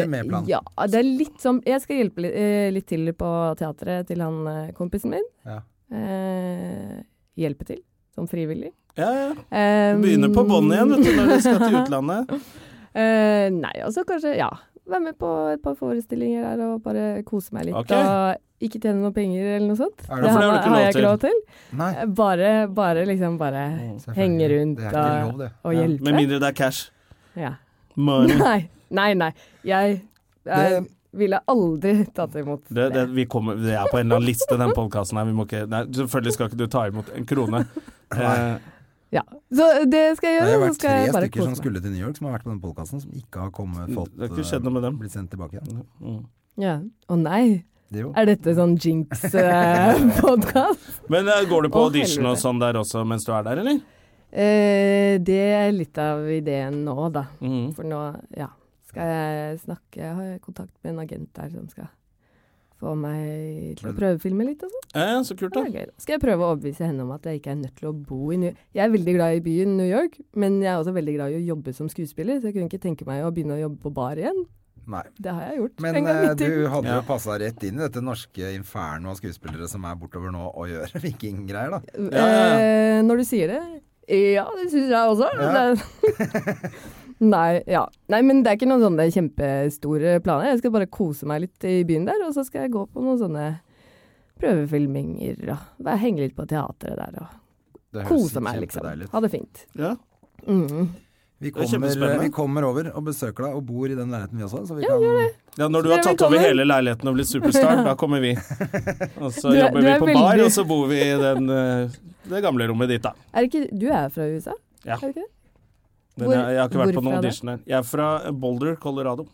Eller med plan.
Ja, det er litt som Jeg skal hjelpe litt, eh, litt til på teatret til han eh, kompisen min.
Ja.
Eh, hjelpe til, som frivillig.
Ja, ja.
Eh,
Begynner på bånn igjen vet du, når du skal til utlandet.
Eh, nei, altså kanskje, ja. Være med på et par forestillinger der og bare kose meg litt.
Ok.
Og ikke tjene noen penger eller noe sånt.
Er det-
det
for det har
har,
du ikke
har
lov
jeg ikke lov til.
Nei,
Eh, Bare, bare liksom bare
selvfølgelig.
henge rundt
Det er ikke lov,
og,
det.
*laughs* og
Ja.
hjelpe.
Med mindre det er cash.
Ja.
Money.
*laughs* Nei, nei, nei. Jeg, jeg
Det-
ville aldri tatt imot
Det, det, vi, kommer, det er på en eller annen liste, den podkasten her. Vi må ikke, nei, selvfølgelig skal ikke du ta imot en krone. Eh,
Ja. Så det
Det
skal jeg
har
gjøre.
jo
så
vært
skal
tre
jeg bare
stykker som
kose meg.
skulle til New York, som har vært på den podkasten, som ikke har kommet,
Eh,
fått
Det har ikke skjedd noe med dem.
eh, blitt sendt tilbake igjen.
mm.
Ja. Å nei.
Det er jo.
Er dette sånn
*laughs*
eh, jinx-podkast?
Men eh, går du på
Å,
audition og
helvete.
sånn der også mens du er der, eller?
eh, det er litt av ideen nå, da.
Mm.
For nå, ja, skal jeg snakke Jeg har kontakt med en agent der som skal få meg til å prøvefilme litt og sånn.
Eh, så kult,
Det
da.
er gøy. Skal jeg prøve å overbevise henne om at jeg ikke er nødt til å bo i New Jeg er veldig glad i byen New York, men jeg er også veldig glad i å jobbe som skuespiller, så jeg kunne ikke tenke meg å begynne å jobbe på bar igjen.
Nei.
Det har jeg gjort
Men
en gang
eh,
i
du
tiden.
hadde
Ja.
jo passa rett inn i dette norske inferno av skuespillere som er bortover nå og gjør *laughs* vikinggreier, da.
Ja, ja,
Eh, når du sier det Ja, det syns jeg også.
Ja.
Det- *laughs* Nei, ja. Nei, men det er ikke noen sånne kjempestore planer. Jeg skal bare kose meg litt i byen der, og så skal jeg gå på noen sånne prøvefilminger og være- henge litt på teatret der og
Det høres
kose meg,
kjempedeilig
liksom.
ut.
Ha det fint.
Ja.
Mm.
Vi
Det er
kommer,
kjempespennende.
vi kommer over og besøker deg og bor i den leiligheten vi også. Så vi
Ja,
kan,
gjør det.
Ja, når du
Så
har
dere
tatt over
velkommen.
hele leiligheten og blitt superstar, da kommer vi. Og så
*laughs* Du er-
jobber
du
vi
er
på bar,
veldig-
og så bor vi i den, eh, det gamle rommet ditt, da.
Er det ikke Du er fra USA?
Ja.
Er det ikke det?
Men
Hvor-
jeg, jeg har ikke vært på noen
hvorfra da?
audition her. Jeg er fra Boulder, Colorado.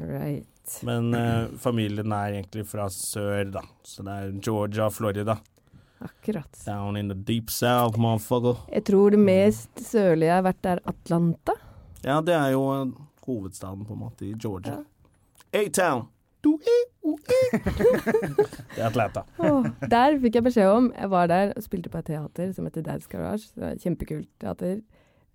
Right.
Men eh, familien er egentlig fra sør, da. Så det er Georgia, Florida.
Akkurat.
Down in the deep south, motherfucker.
Jeg tror det mest sørlige jeg har vært, er Atlanta.
Ja, det er jo eh, hovedstaden, på en måte, i Georgia. A-town! Du er- o er. *laughs* Det er Atlanta.
Åh, der fikk jeg beskjed om Jeg var der og spilte på et teater som heter Dad's Garage. Det var et Kjempekult teater.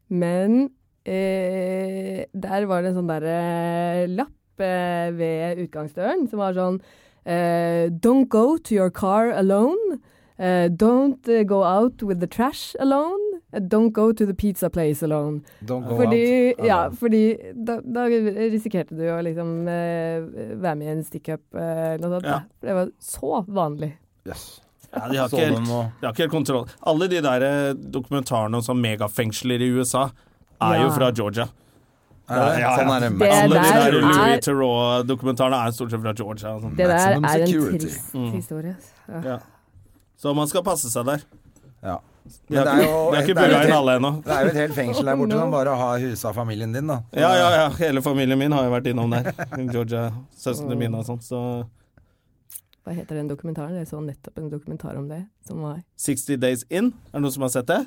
Men eh, der var det en sånn derre lapp eh, ved utgangsdøren som var sånn eh, Don't go to your car alone. Eh, don't eh, go out with the trash alone. Eh, Don't go to the pizza place alone.
Don't go
Fordi,
out.
ja, fordi da, da risikerte du å liksom eh, være med i en stickup eh, eller noe sånt.
Ja.
da. For det var så vanlig.
Yes.
Ja, de har
Så
ikke
den
helt
nå.
De har ikke helt kontroll. Alle de der eh, dokumentarene om sånn megafengsler i USA er
Ja.
jo fra Georgia.
Er
Ja,
det?
ja.
Sånn er
Det
det.
er
Alle de
der
der
er-
Louis Theroux-dokumentarene er stort sett fra Georgia. og sånn.
Det der
Maximum
er en
security.
trist
Mm.
historie. altså. Ja.
Ja. Så man skal passe seg der.
Ja.
De har
Men det er
ikke,
jo-
de har ikke
det er jo
burra inn
helt-
alle ennå.
Det er jo et helt fengsel der borte
Oh, no.
som bare har husa familien din, da. Så-
Ja, ja, ja. Hele familien min har jo vært innom der. Georgia, søstrene mine og sånn. Så
Hva heter den dokumentaren? Jeg så nettopp en dokumentar om det. Som var
60 Days In, er det noen som har sett det?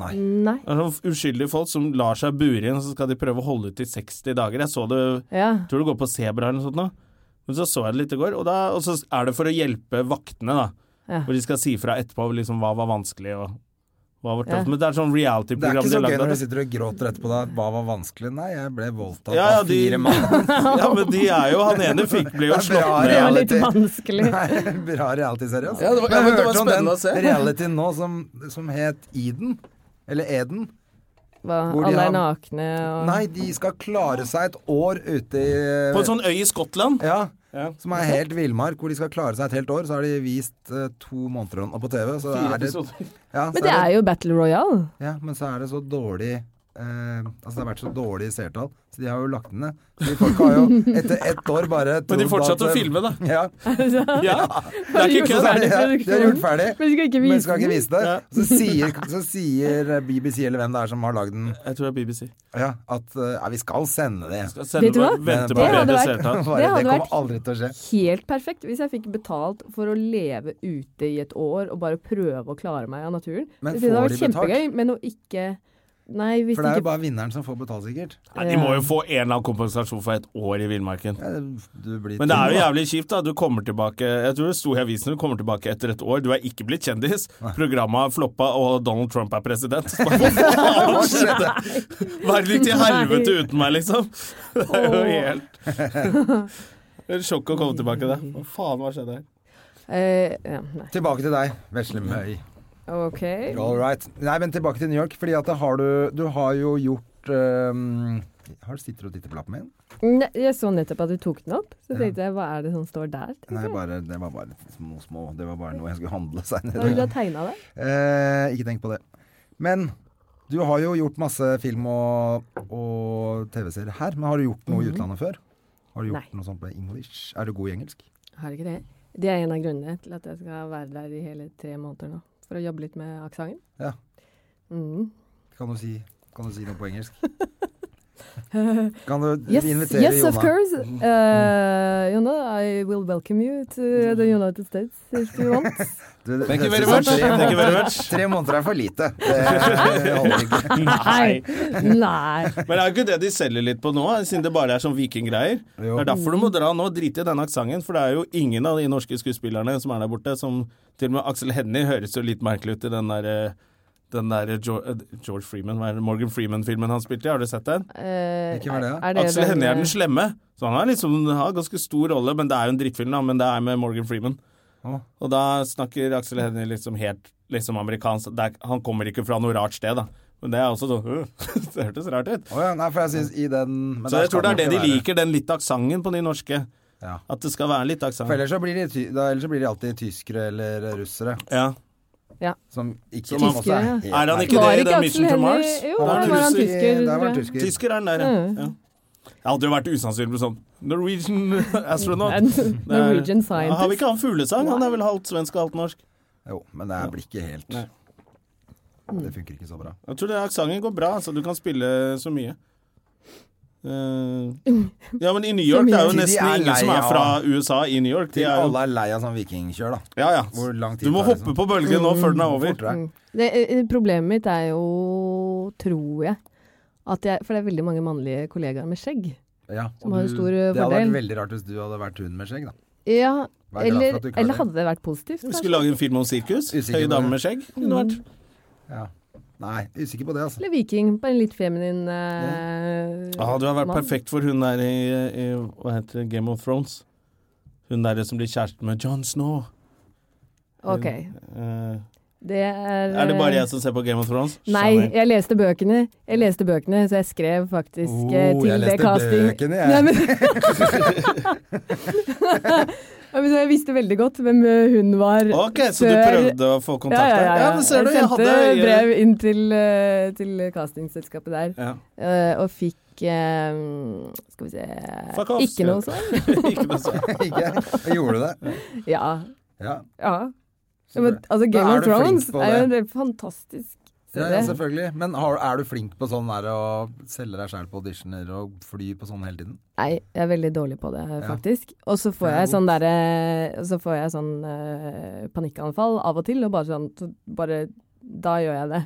Nei.
Nei.
Det er sånn uskyldige folk som lar seg bure inn, og så skal de prøve å holde ut i 60 dager. Jeg så det
Ja.
tror det går på sebra eller noe sånt nå. Men så så jeg det litt i går, og, da, og så er det for å hjelpe vaktene, da.
Ja.
Hvor de skal si fra etterpå liksom, hva var vanskelig og hva var
Ja.
tøft. Men det er sånn
Det er
reality-program
ikke
de
så
har
gøy
lagd
når du
av det.
sitter og gråter etterpå da. Hva var vanskelig? Nei, jeg ble voldtatt
Ja, ja,
av
de- *laughs*
fire mann.
Ja, men de er jo Han ene fikk, ble jo
*laughs* Det er
slått
bra
ned.
Det var
av-
litt
reality.
vanskelig.
*laughs* Nei, Bra reality-serie. altså.
Ja, det var-
Men
ja, men
jeg
det var
hørte om
spennende
den
å se.
Realityen nå som, som het Eden. Eller Eden.
Hva,
Hvor de
alle
har-
er nakne og
Nei, de skal klare seg et år ute i
På en sånn øy i Skottland.
Ja.
Ja.
Som er helt villmark, hvor de skal klare seg et helt år. Så har de vist eh, to måneder nå på TV. Så er det, ja, så
Men det er jo Battle Royale.
ja, men så er det så dårlig eh, Altså det har vært så dårlig seertall, så de har jo lagt den ned. Så de folka har jo etter ett år
Men
bare
de
trodd
fortsatte å
at-
filme, da.
Ja.
*laughs* Ja. Det er ikke
Så
Så
kødd.
er det,
Ferdig
de har gjort ferdig.
Men vi skal ikke
Men
vise
skal ikke
den.
vise det.
Ja.
Så sier, så sier BBC eller hvem det er som har lagd den,
Jeg tror det er BBC.
ja, at eh, ja, vi skal sende det. *laughs*
Skal sende,
Vet du hva?
Vente på
Det
hadde
bedre
vært-
seertall.
Bare, det
hadde
kommer
vært-
aldri til å skje.
Helt perfekt hvis jeg fikk betalt for å leve ute i et år og bare prøve å klare meg av naturen.
Men
det hadde
får
vært
de betalt?
kjempegøy, men å ikke Nei, hvis
For det er jo
ikke
bare vinneren som får betalt, sikkert.
Nei, de må jo få en eller annen kompensasjon for et år i villmarken.
Ja, du blir
Men det er jo
tom, da.
jævlig kjipt, da. Du kommer tilbake Jeg tror det sto i avisen du kommer tilbake etter et år. Du er ikke blitt kjendis. Programmet har floppa, og Donald Trump er *laughs* president. Hva skjedde? Vær litt i helvete uten meg, liksom. Det er jo
Åh.
helt Det er et sjokk å komme tilbake det. Hva faen, hva skjedde her?
eh, ja, Nei.
Tilbake til deg, Veslemøy.
OK.
All right. Nei, men tilbake til New York, fordi at det har du Du har jo gjort um, har du Sitter du og titter på lappen min?
Ne, jeg så nettopp at du tok den opp, så tenkte jeg hva er det som står der? tenkte
Nei,
jeg.
bare, det var bare små, små Det var bare noe jeg skulle handle
Da ville du
seinere.
ha tegna det.
Eh, ikke tenk på det. Men du har jo gjort masse film og, og TV-serier her. Men har du gjort noe i utlandet før? Har du gjort
Mhm. Nei.
noe sånt på English? Er du god i engelsk?
Har ikke det. Det er en av grunnene til at jeg skal være der i hele tre måneder nå. For å jobbe litt med aksenten.
Ja.
Mm.
Kan du si, kan du si noe på
*laughs*
engelsk? Kan du
Yes,
invitere
yes
Jonna? Mm.
of course. Uh, Jonna, I will welcome you to the United States if you want.
Du, det
Thank you very
høres
much.
ut som tre
Thank you very much.
Tre måneder er for lite.
*laughs*
Det holder ikke.
Nei.
Nei.
Men det er jo ikke det de selger litt på nå, siden det bare er sånn vikinggreier. Det
Jo.
er derfor du må dra nå, drite i den aksenten, for det er jo ingen av de norske skuespillerne som er der borte, som til og med Aksel Hennie høres jo litt merkelig ut i den der eh, den der Jo- eh, George Freeman, hva er det, Morgan Freeman-filmen han spilte i, har du sett den?
Eh,
Ikke var det, ja.
er
Aksel
den,
Hennie er
eh,
den slemme, så han har liksom han har ganske stor rolle, men det er jo en drittfilm, da, men det er med Morgan Freeman.
Å.
Og da snakker Aksel Hennie liksom helt liksom amerikansk, det er, han kommer ikke fra noe rart sted, da. Men det er også sånn *laughs* øh, Det hørtes rart ut.
Å ja, nei, for jeg synes i den men
Så
der
jeg tror det er
skal
det de
ikke være-
liker, den litt aksenten på de norske.
Ja.
At det skal være litt
For
aksent.
ellers så, blir de, ty- da, ellers så blir de alltid tyskere eller russere.
Ja.
Som ikke
Som
som
man-
også
Tyskere, ja.
helt
Er han
merkelig.
ikke
Var
det i
ikke
den
Aksel
Mission to
Hennie-
Mars?
Jo,
Han
det
er
var han
russer.
Der
tysker,
var
tror jeg.
tysker.
Tysker er den der, ja. ja. Det hadde jo vært usannsynlig med sånn Norwegian *laughs* astronaut.
En
Det er-
Norwegian
Ja, Har vi
scientist.
ikke han fuglesang? Han er vel halvt svensk og halvt norsk.
Jo, men det er- blir ikke helt
Nei.
Det funker ikke så bra.
Jeg tror den aksenten går bra, så du kan spille så mye. Eh, ja, men i New York
Så mye.
det er jo
De er
nesten ingen som
lei
er
av-
fra USA i New York. De
Til
er jo,
alle er lei av sånn vikingkjør, da.
ja, ja.
Hvor lang tid
Du må
tar det, sånn? liksom?
hoppe på bølgen nå før den er over.
Fortere.
Det, eh, problemet mitt er jo, tror jeg, at jeg For det er veldig mange mannlige kollegaer med skjegg.
Ja,
Som
og
har en
du-
stor, eh,
Det hadde vært
fordel.
veldig rart hvis du hadde vært hun med skjegg, da.
Ja,
Vær glad for
eller,
at du ikke har
eller
det.
hadde det vært positivt?
Vi
kanskje?
skulle lage en film om sirkus.
Usikker
Høye
på
damer
det.
med skjegg. Kunne vært.
Ja. Nei, usikker på det, altså. *laughs*
Eller viking. Bare en litt feminin eh,
Ja, Ah, du har vært
mann.
perfekt for hun der i, i hva heter det, Game of Thrones. Hun der som blir kjæresten med John Snow.
Ok.
Eh,
Det er
er det bare
eh,
jeg som ser på Game of Thrones?
Nei,
Skjønner.
jeg leste bøkene. Jeg leste bøkene, så jeg skrev faktisk eh,
Oh,
til
jeg
det
leste
casting.
bøkene,
Nei,
jeg.
men... *laughs* Ja, men så jeg visste veldig godt hvem eh, hun var.
Ok, så du
før-
prøvde å få kontakt der? Ja, men ser du, jeg
jeg sendte
hadde
brev inn til, eh, til castingselskapet der,
Ja.
eh, og fikk eh, Skal vi se
Fuck off,
Ikke noe
skrev
sånn.
*laughs* Ikke noe sånn.
Ikke? Gjorde du det?
Ja.
Ja.
ja.
så
ja men,
bra.
altså,
Da
Game
er
of
du flink
Thrones
på
er jo
det.
en fantastisk
Ja, ja,
serie.
selvfølgelig. Men har, er du flink på sånn der å selge deg sjæl på auditioner og fly på sånn hele tiden?
Nei, jeg er veldig dårlig på det, faktisk. Og så får
Det er
jeg
vondt.
sånn derre og Så får jeg sånn eh, panikkanfall av og til, og bare sånn så bare, Da gjør jeg det.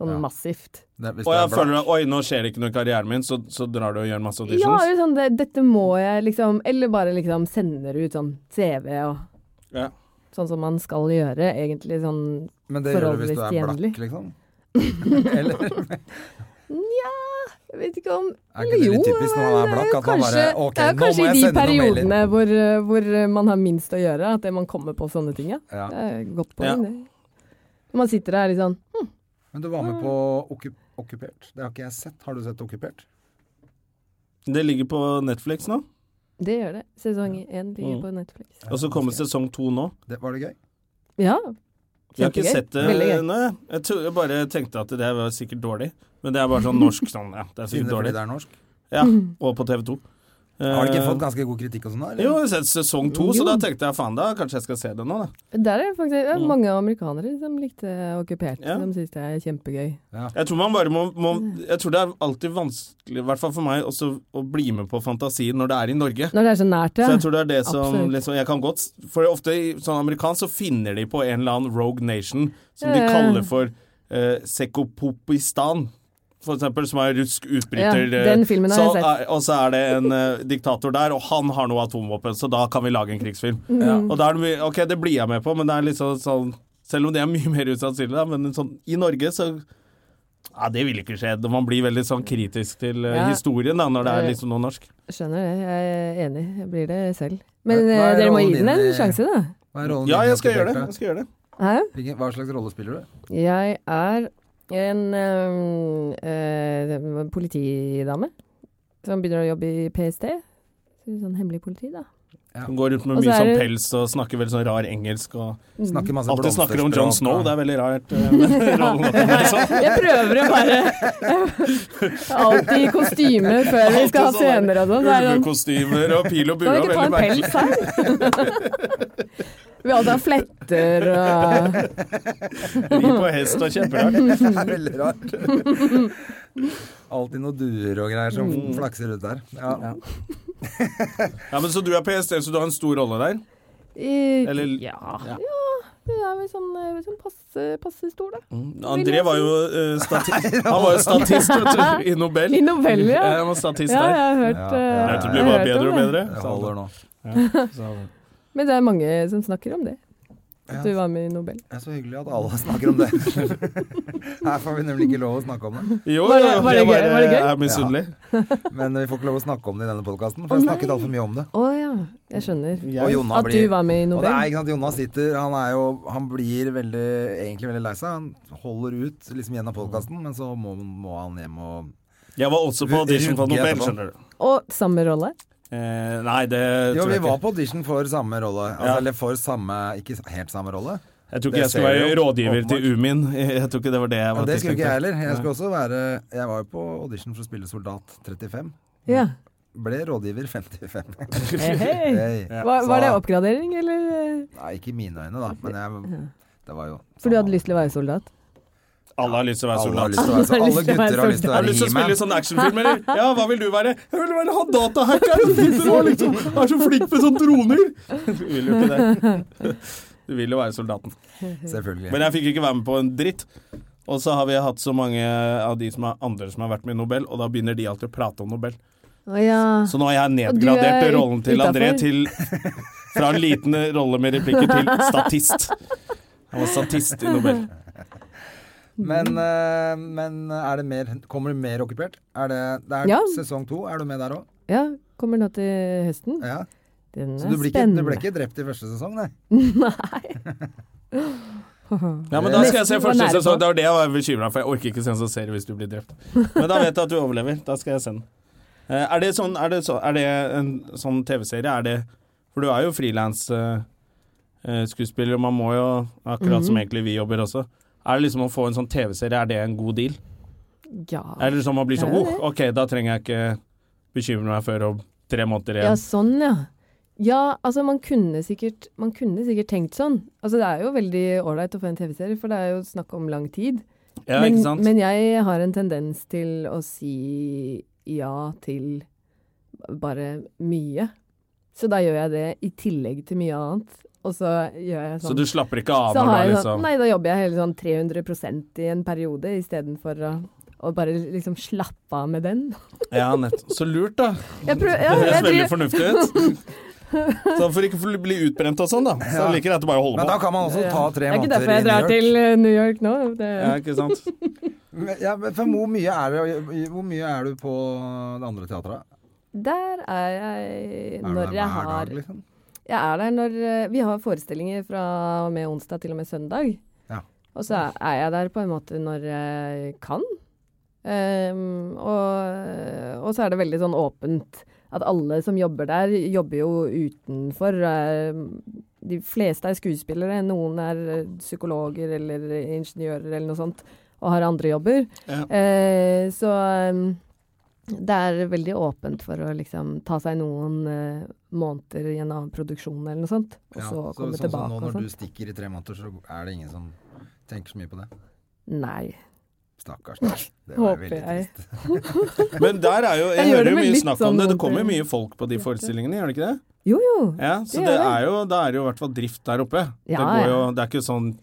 Sånn
Ja.
massivt.
Det, hvis
Og
du er
jeg
bra-
føler at oi, nå skjer det ikke noe i karrieren min, så, så drar du og gjør masse
Ja,
auditions?
eller sånn det, Dette må jeg liksom Eller bare liksom sender ut sånn CV og
Ja.
Sånn som man skal gjøre, egentlig sånn
Men det gjør du hvis du er
forholdsvis jevnlig.
blakk, liksom? *laughs* Eller?
Nja, jeg vet ikke om
Er ikke det litt typisk når man er blakk, at man bare Ok,
det er
nå må
kanskje
jeg
i de
sende noen
periodene
mailer.
hvor, eh, hvor eh, man har minst å gjøre, at det man kommer på sånne ting, ja.
Ja.
Det er et godt
Ja.
poeng, det. Man sitter der litt sånn
Men du var med på
Mm.
Okku- Okkupert. Det har ikke jeg sett. Har du sett Okkupert?
Det ligger på Netflix nå,
Det gjør det. Sesong én ligger
Mm.
på Netflix.
og så kommer sesong to nå.
Det, var det gøy?
Ja.
Jeg har ikke
Kjempegøy.
sett eh, det
Veldig gøy.
ennå, jeg. Jeg tror- Jeg bare tenkte at det var sikkert dårlig. Men det er bare sånn norsk sånn, ja. Det er sikkert
Siden det
dårlig.
fordi det er norsk.
Ja, og på TV 2.
Har det ikke fått ganske god kritikk og sånn, da? eller?
Eh, Jo, jeg har sett sesong to, så
Jo.
da tenkte jeg faen, da kanskje jeg skal se det nå, da.
Der er det faktisk det er
Mm.
mange amerikanere som likte Okkupert.
Ja.
De syns det er kjempegøy.
Jeg tror man bare må, må Jeg tror det er alltid vanskelig, i hvert fall for meg, også å bli med på fantasien når det er i Norge.
Når det er så nært,
Så
ja.
jeg tror det er det som
Absolutt.
liksom, Jeg kan godt s- For ofte i sånn amerikansk så finner de på en eller annen Rogue Nation som
Ja,
de
ja.
kaller for eh, Sekopopistan. for eksempel, som er rusk utbryter. eh,
Ja, den filmen har
så,
jeg sett.
er- Og så er det en eh, diktator der, og han har noe atomvåpen, så da kan vi lage en krigsfilm.
Mm.
Og da er det mye Ok, det blir jeg med på, men det er litt sånn- sånn Selv om det er mye *laughs* mer usannsynlig, da, men sånn i Norge, så ja, Det vil ikke skje. Man blir veldig sånn kritisk til eh,
Ja.
historien da, når det er liksom noe norsk.
Skjønner det. Jeg er enig. Jeg blir det selv. Men
Hva- hva
eh,
er
dere må
rollen
gi den en
din i-
sjanse, da.
Hva er rollen
Ja,
din i
jeg skal
Happy
gjøre det.
Birthday?
Jeg skal gjøre det.
Hæ?
Hvilken- Hva slags rolle spiller du?
Jeg er en øhm, øh, politidame som begynner å jobbe i PST. Sånn hemmelig politi, da.
Hun går rundt med
Og så
mye
er
sånn
det-
pels og snakker veldig sånn rar engelsk. og...
Mm.
Snakker masse
Alltid snakker om
blomsterspråk,
John Snow,
og-
det er veldig rart.
*laughs*
eh, men rollen at hun er sånn.
Jeg prøver å bare Alltid i kostyme før vi skal ha
Alltid sånn
scener og sånn. så er det sånn.
Ulvekostymer og
*laughs*
pil og bue.
Kan vi ikke ta
veldig
en
merkelig.
pels her? *laughs* Vi alltid har fletter og
*laughs* Ri på hest og
*laughs*
kjemperart.
*laughs* Det er veldig *laughs* rart. Alltid noen duer og greier som flakser ut der. Mm. Ja.
Ja, men så du er PST, så du har en stor rolle der?
i-
Eller-
Ja. ja. Det er vel sånn, eh, sånn passe, passe stor, da.
Mm. André var jo eh,
*laughs*
stati Han var jo statist vet du, i Nobel.
I Nobel, ja.
Han var statist
Ja, jeg
der.
har hørt
Ja, ja,
eh,
ja.
Vet du,
jeg
blir
har
bare
hørt om
bedre og
det.
bedre.
Det
sa han.
holder nå.
Men det er mange som snakker om det. At du var med i Nobel.
Det er så hyggelig at *laughs* alle snakker om det. Her får vi nemlig ikke lov å snakke om det.
Jo,
Var det-
ja,
var det
jeg
gøy? Var det
bare
gøy?
er misunnelig.
Men vi får ikke lov å snakke om det i denne podkasten, for jeg har snakket altfor mye om det.
Å ja, jeg skjønner.
Og Jonna
At du
blir-
var med i
Og det er
Nobel.
ikke sant, Jonas sitter Han, er jo, han blir veldig, egentlig veldig lei seg. Han holder ut liksom gjennom podkasten, men så må, må han hjem og
Jeg var også på audition for
Rugge
Nobel,
etterpå.
skjønner du.
Og samme rolle.
Eh, nei, det
Jo,
tror
vi
jeg
var
ikke.
på audition for samme rolle. Altså,
Ja.
Eller for samme Ikke helt samme rolle.
Jeg tror ikke
Det
jeg skulle
ser
være
vi jo,
rådgiver til
åpenbart.
Umin. *laughs* Jeg tror ikke det var det jeg
Ja,
var
det skulle ikke jeg
tiltenkt.
heller. Jeg skulle også være Jeg var jo på audition for å spille soldat 35.
Ja.
Ble rådgiver
*laughs*
55.
Hei, Eh, hei.
*laughs* Hey.
Var, var det oppgradering, eller? eh,
Nei, ikke i mine øyne, da. Men jeg, det var jo sånn
For du hadde lyst til å være soldat?
Alle har lyst til å være
Alle,
soldat.
har lyst til å være, så alle gutter har lyst til å
Har du
være
lyst til å spille i
he-man.
sånn actionfilm, eller?
*laughs*
Ja, hva vil du være? Jeg vil være han datahackeren som sitter og liksom er så flink med sånne droner. *laughs* Du vil jo ikke det. *laughs* Du vil jo være soldaten.
Selvfølgelig.
sånn- Men jeg fikk ikke være med på en dritt. Og så har vi hatt så mange av de som er andre som har vært med i Nobel, og da begynner de alltid å prate om Nobel.
Å ja.
Så nå har jeg
Og du
nedgradert
er
rollen til
utenfor?
André
*laughs*
til fra en liten rolle med replikker til statist. Han var statist i Nobel.
Men, eh, men er det mer Kommer du mer okkupert? Er det, det er
Ja.
sesong to. Er du med der òg?
ja. Kommer nå til høsten.
Ja.
Den er
Så du blir, ikke, du
spennende.
ble ikke drept i første sesong, nei?
Ja, men da skal jeg se
Eh, Nesten var
første
nære på.
sesong. Det var det jeg var bekymra for. Jeg orker ikke se en sånn serie hvis du blir drept. Men da vet jeg at du overlever. Da skal jeg se den. Eh, Er det, sånn, er det, så, er det en sånn TV-serie? Er det For du er jo frilansskuespiller, og man må jo Akkurat
Mhm.
som egentlig vi jobber også. Er det liksom å få en sånn TV-serie, er det en god deal?
Ja.
Er det liksom man blir sånn
Det er
oh, OK, da trenger jeg ikke bekymre meg før om tre måneder
Ja,
igjen.
sånn, ja. Ja, altså man kunne sikkert, man kunne sikkert tenkt sånn. Altså det er jo veldig ålreit å få en TV-serie, for det er jo snakk om lang tid.
Ja,
men,
ikke sant?
men jeg har en tendens til å si ja til bare mye. Så da gjør jeg det i tillegg til mye annet. Og så gjør jeg
Så
sånn.
du slapper ikke av
så
når du
har
er
jeg sånn
liksom
Nei, da jobber jeg hele sånn 300 i en periode istedenfor å, å bare liksom slappe av
*laughs*
med den.
Ja, nettopp. Så lurt, da.
Jeg prøver, ja,
Det
jeg
høres veldig
driver-
fornuftig ut. Så for ikke å bli utbrent og sånn, da. Så jeg liker jeg at du bare
Men
holder
da
på.
kan man også ta tre
det er ikke
måneder
derfor
i
jeg
New
drar
York.
til eh, New York nå. Det,
Ja, ikke sant?
Men- Ja, men for hvor mye er det Hvor mye er du på det andre teatret?
Der er jeg
Er du
når
der
jeg
hver
har
dag, liksom?
Jeg er der når eh, Vi har forestillinger fra og med onsdag til og med søndag.
Ja.
Og så er- er jeg der på en måte når jeg kan. Ehm, og, og så er det veldig sånn åpent at alle som jobber der, jobber jo utenfor. ehm, De fleste er skuespillere, noen er psykologer eller ingeniører eller noe sånt, og har andre jobber.
Ja.
Eh, så ehm, det er veldig åpent for å liksom ta seg noen eh, måneder i en annen produksjon eller noe sånt, og
Ja,
så
så-
komme
sånn som
tilbake
nå
og
når du
sånt.
stikker i tre måneder, så er det ingen som tenker så mye på det.
Nei.
Stakkars
*laughs*
deg. Det var
Håper
veldig
jeg.
trist.
Men der er jo Jeg,
Jeg gjør
hører
det
jo
med
mye
litt
snakk om
sånn
det. Det kommer jo
vondt i-
mye folk på de forestillingene, gjør det ikke det?
Jo, jo.
Ja, Så
Det
det
gjør det.
er jo, da er det jo i hvert fall drift der oppe. Det
Ja,
går
ja.
jo Det er ikke sånn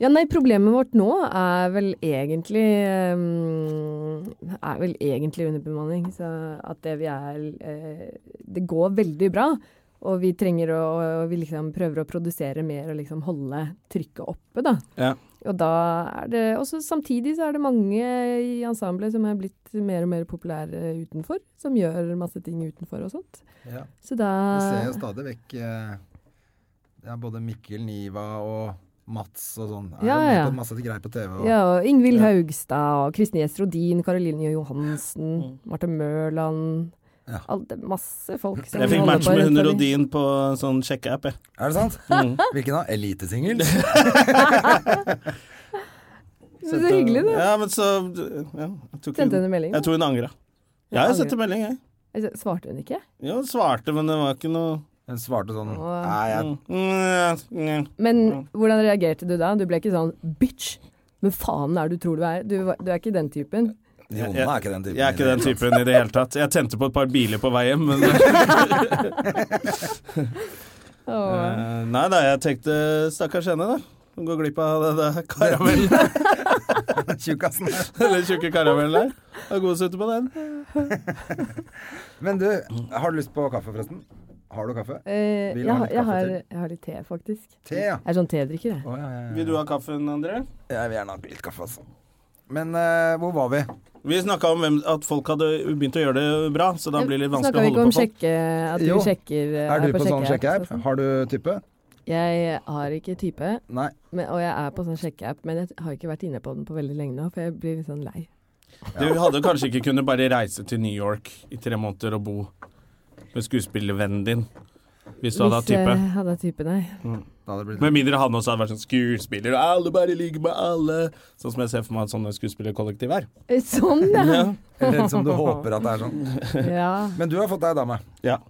Ja, nei, problemet vårt nå er vel egentlig eh, Er vel egentlig underbemanning. Så at det vi er eh, Det går veldig bra. Og vi trenger å og Vi liksom prøver å produsere mer og liksom holde trykket oppe, da.
Ja.
Og da er det også samtidig så er det mange i ensemblet som er blitt mer og mer populære utenfor. Som gjør masse ting utenfor og sånt.
Ja.
Så da
Vi ser jo stadig vekk eh, ja, både Mikkel Niva og Mats og sånn. Er
Ja,
jo med
ja.
på masse greier på TV. Og,
Ja, og Ingvild Haugstad og Kristine Gjesrodin, Karoline
Mm.
Johansen, Marte Mørland
Ja.
Alt det, Masse folk som
Jeg fikk
holder
match
på
med hun
rundt forbi.
Rodin på sånn sjekkeapp, jeg.
Er det
*laughs*
sant?
Mm.
Hvilken da? Elitesingel?
Det er så hyggelig, det.
Ja, men så ja, jeg, tror ikke hun,
Sendte henne en melding.
jeg tror hun angra. Ja, jeg sendte melding, jeg.
Altså, Svarte hun ikke?
Jo, hun svarte, men det var ikke noe
Hun svarte sånn
Åh.
Nei, jeg,
mm, mm, mm.
Men hvordan reagerte du da? Du ble ikke sånn bitch, men faen er det du tror du er? Du, var- du er ikke den typen.
Jonna er ikke den typen.
Jeg er ikke den typen i det hele tatt. Jeg tente på et par biler på vei hjem, men
Åh.
Eh, Nei da, jeg tenkte stakkars henne, da. Hun går glipp av det der karamellen,
*laughs* Tjukkasen.
*laughs* eller tjukke karamellen der. Har god sutte på den.
Men du, har du lyst på kaffe, forresten? Har du kaffe?
Eh,
Vil du
jeg,
ha
har-
litt
jeg,
kaffe
har,
til?
jeg har litt te, faktisk.
Te, ja.
Jeg er sånn tedrikker, jeg.
Å, ja, ja, ja.
Vil du ha kaffen, André?
Jeg vil gjerne ha litt kaffe, altså. Men eh, hvor var vi?
Vi snakka om hvem, at folk hadde begynt å gjøre det bra, så da blir det litt vanskelig
Snakka vi
å
ikke om
holde på folk.
sjekke, at du
Jo.
sjekker eh,
Er du på sånn
sjekkeapp,
sjekkeapp? Har du type?
Jeg har ikke type.
Nei.
Men, og jeg er på sånn sjekkeapp, men jeg har ikke vært inne på den på veldig lenge nå, for jeg blir litt sånn lei.
Du hadde kanskje ikke kunnet bare reise til New York i tre måneder og bo med skuespillervennen din, hvis du hadde hatt type.
jeg hadde hatt type, nei.
Da hadde det blitt
Med mindre han også hadde vært sånn skuespiller, og alle bare ligger med alle. Sånn som jeg ser for meg at sånne skuespillerkollektiv er.
Eh, Sånn, ja!
Eller som
*laughs*
du håper at det er sånn.
ja.
Men du har fått deg dame.
*laughs* Ja.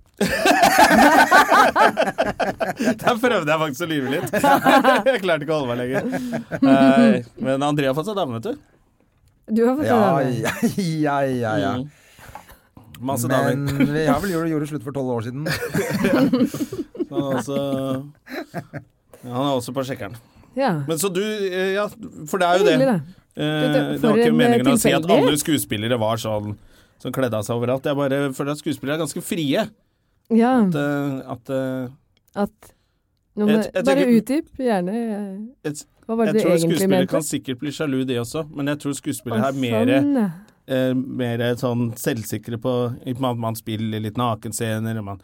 Der prøvde jeg faktisk å lyve litt. *laughs* Jeg klarte ikke å holde meg lenger. Nei, Men Andrea har fått seg dame, vet du.
Du har fått Mm.
Ja,
det.
ja, ja, ja. ja.
Mm. Masse
Men
damer.
vi har vel gjort, gjorde slutt for tolv år
*laughs*
siden.
Han er også, ja, han er også på sjekkeren.
Ja.
Men så du eh, Ja, for det er jo
Hyggelig,
det.
da.
Eh,
Det- det-
Det var
for
ikke
en
meningen å si at
tilfeldighet.
alle skuespillere var sånn som kledde av seg overalt. Jeg bare føler at skuespillere er ganske frie.
Ja,
At, eh, at eh,
at nå må,
Jeg- jeg
Bare
tenker-
utdyp, gjerne. eh,
Jeg-
Hva var
Jeg
det du
tror
egentlig
skuespillere
mente?
kan sikkert bli sjalu, de også, men jeg tror skuespillere
Å,
er mer
sånn, ja.
eh, mer sånn selvsikre på at man, man spiller litt nakenscener, og man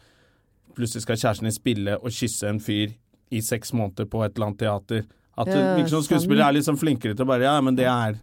plutselig skal kjæresten din spille og kysse en fyr i seks måneder på et eller annet teater. At det
Ja,
virker som skuespillere er litt sånn flinkere til å bare Ja, men det er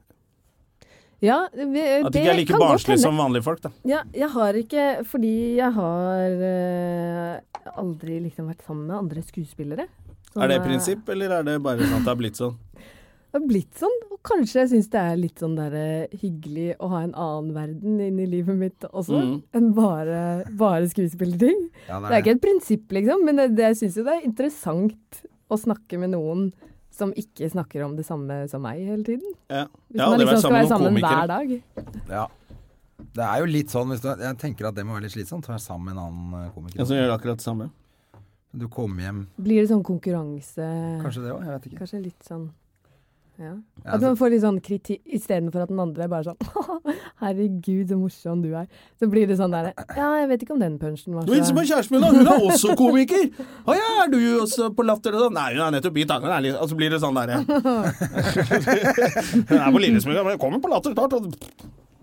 Ja, vi,
At de
det
ikke er like
kan godt
barnslige
hende.
som vanlige folk, da.
Ja, jeg har ikke Fordi jeg har eh, aldri liksom vært sammen med andre skuespillere. Sånn,
Er det
eh,
prinsipp, eller er det bare sånn at det har blitt sånn?
Det har blitt sånn, og kanskje jeg syns det er litt sånn der, eh, hyggelig å ha en annen verden inn i livet mitt også,
Mm.
enn bare, bare skuespillerting.
Ja,
Det er ikke et prinsipp, liksom, men det, det, jeg syns jo det er interessant å snakke med noen som ikke snakker om det samme som meg hele tiden.
Ja.
Hvis
Jeg har
man
aldri
liksom
vært
skal
sammen
være
med noen komikere.
sammen hver dag.
Ja. Det er jo litt sånn hvis du, Jeg tenker at det må være litt slitsomt å være sammen med en annen eh,
Ja,
komiker.
som gjør akkurat det samme.
Du kommer hjem
Blir det sånn konkurranse kanskje,
Kanskje det òg, jeg vet ikke.
litt sånn ja.
Ja,
At man får litt sånn kritikk istedenfor at den andre er bare sånn *laughs* Herregud, så morsom du er. Så blir det sånn derre Ja, jeg vet ikke om den punchen var
Du hilser på kjæresten min, da! Hun er også komiker! *laughs* Å ja, er du også på latter og sånn? Nei, hun er nettopp bit angen, ærlig. Og så blir det sånn derre *laughs* Hun er på Lillesmugga, men hun kommer på latter snart. og-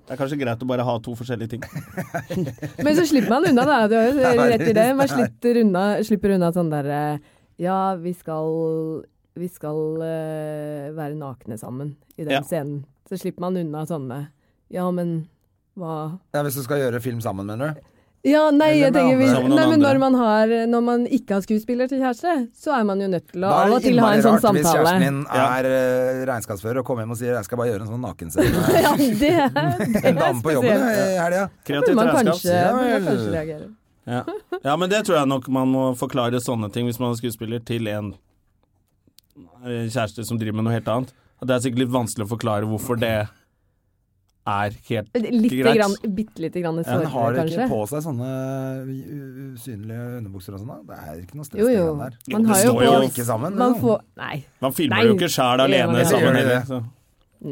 Det er kanskje greit å bare ha to forskjellige *laughs* ting.
Men så slipper man unna, da. Du har jo rett i det. Man slipper unna, slipper unna sånn derre Ja, vi skal, vi skal eh, være nakne sammen i den
Ja.
scenen. Så slipper man unna sånne Ja, men hva
Ja, hvis du skal gjøre film sammen, mener du?
ja, nei,
Eller
jeg
med
tenker vi,
andre. Sammen med
nei,
noen
men når
andre.
man, har, når man ikke har skuespiller til kjæreste, så er man jo nødt til å
Da
av
er
og
det
til ha en
innmari
sånn
rart hvis
samtale.
kjæresten din
Ja.
er eh, regnskapsfører og kommer hjem og sier 'jeg skal bare gjøre en sånn
*laughs*
nakenscene'.
*laughs* Ja, det, det
*laughs*
er
En dame på jobben eh,
spesielt.
i helga.
Kreativt
man
regnskap.
kanskje,
Ja,
burde man
vel.
kanskje reagere.
Ja. ja, men det tror jeg nok man må forklare sånne ting hvis man er skuespiller til en eh, kjæreste som driver med noe helt annet. At det er sikkert litt vanskelig å forklare hvorfor det er helt
Litt
greit.
grann, bitte lite grann i
Men
sårene,
har dere
kanskje.
ikke på seg sånne uh, u- usynlige underbukser og sånn? da? Det er ikke noe stress
Jo,
i
jo.
den der.
Man
Det
har jo
står
på
jo
ikke sammen,
Man
liksom.
får Nei.
Man filmer
Nei.
jo ikke sjæl alene
Det gjør
sammen
det.
heller. så-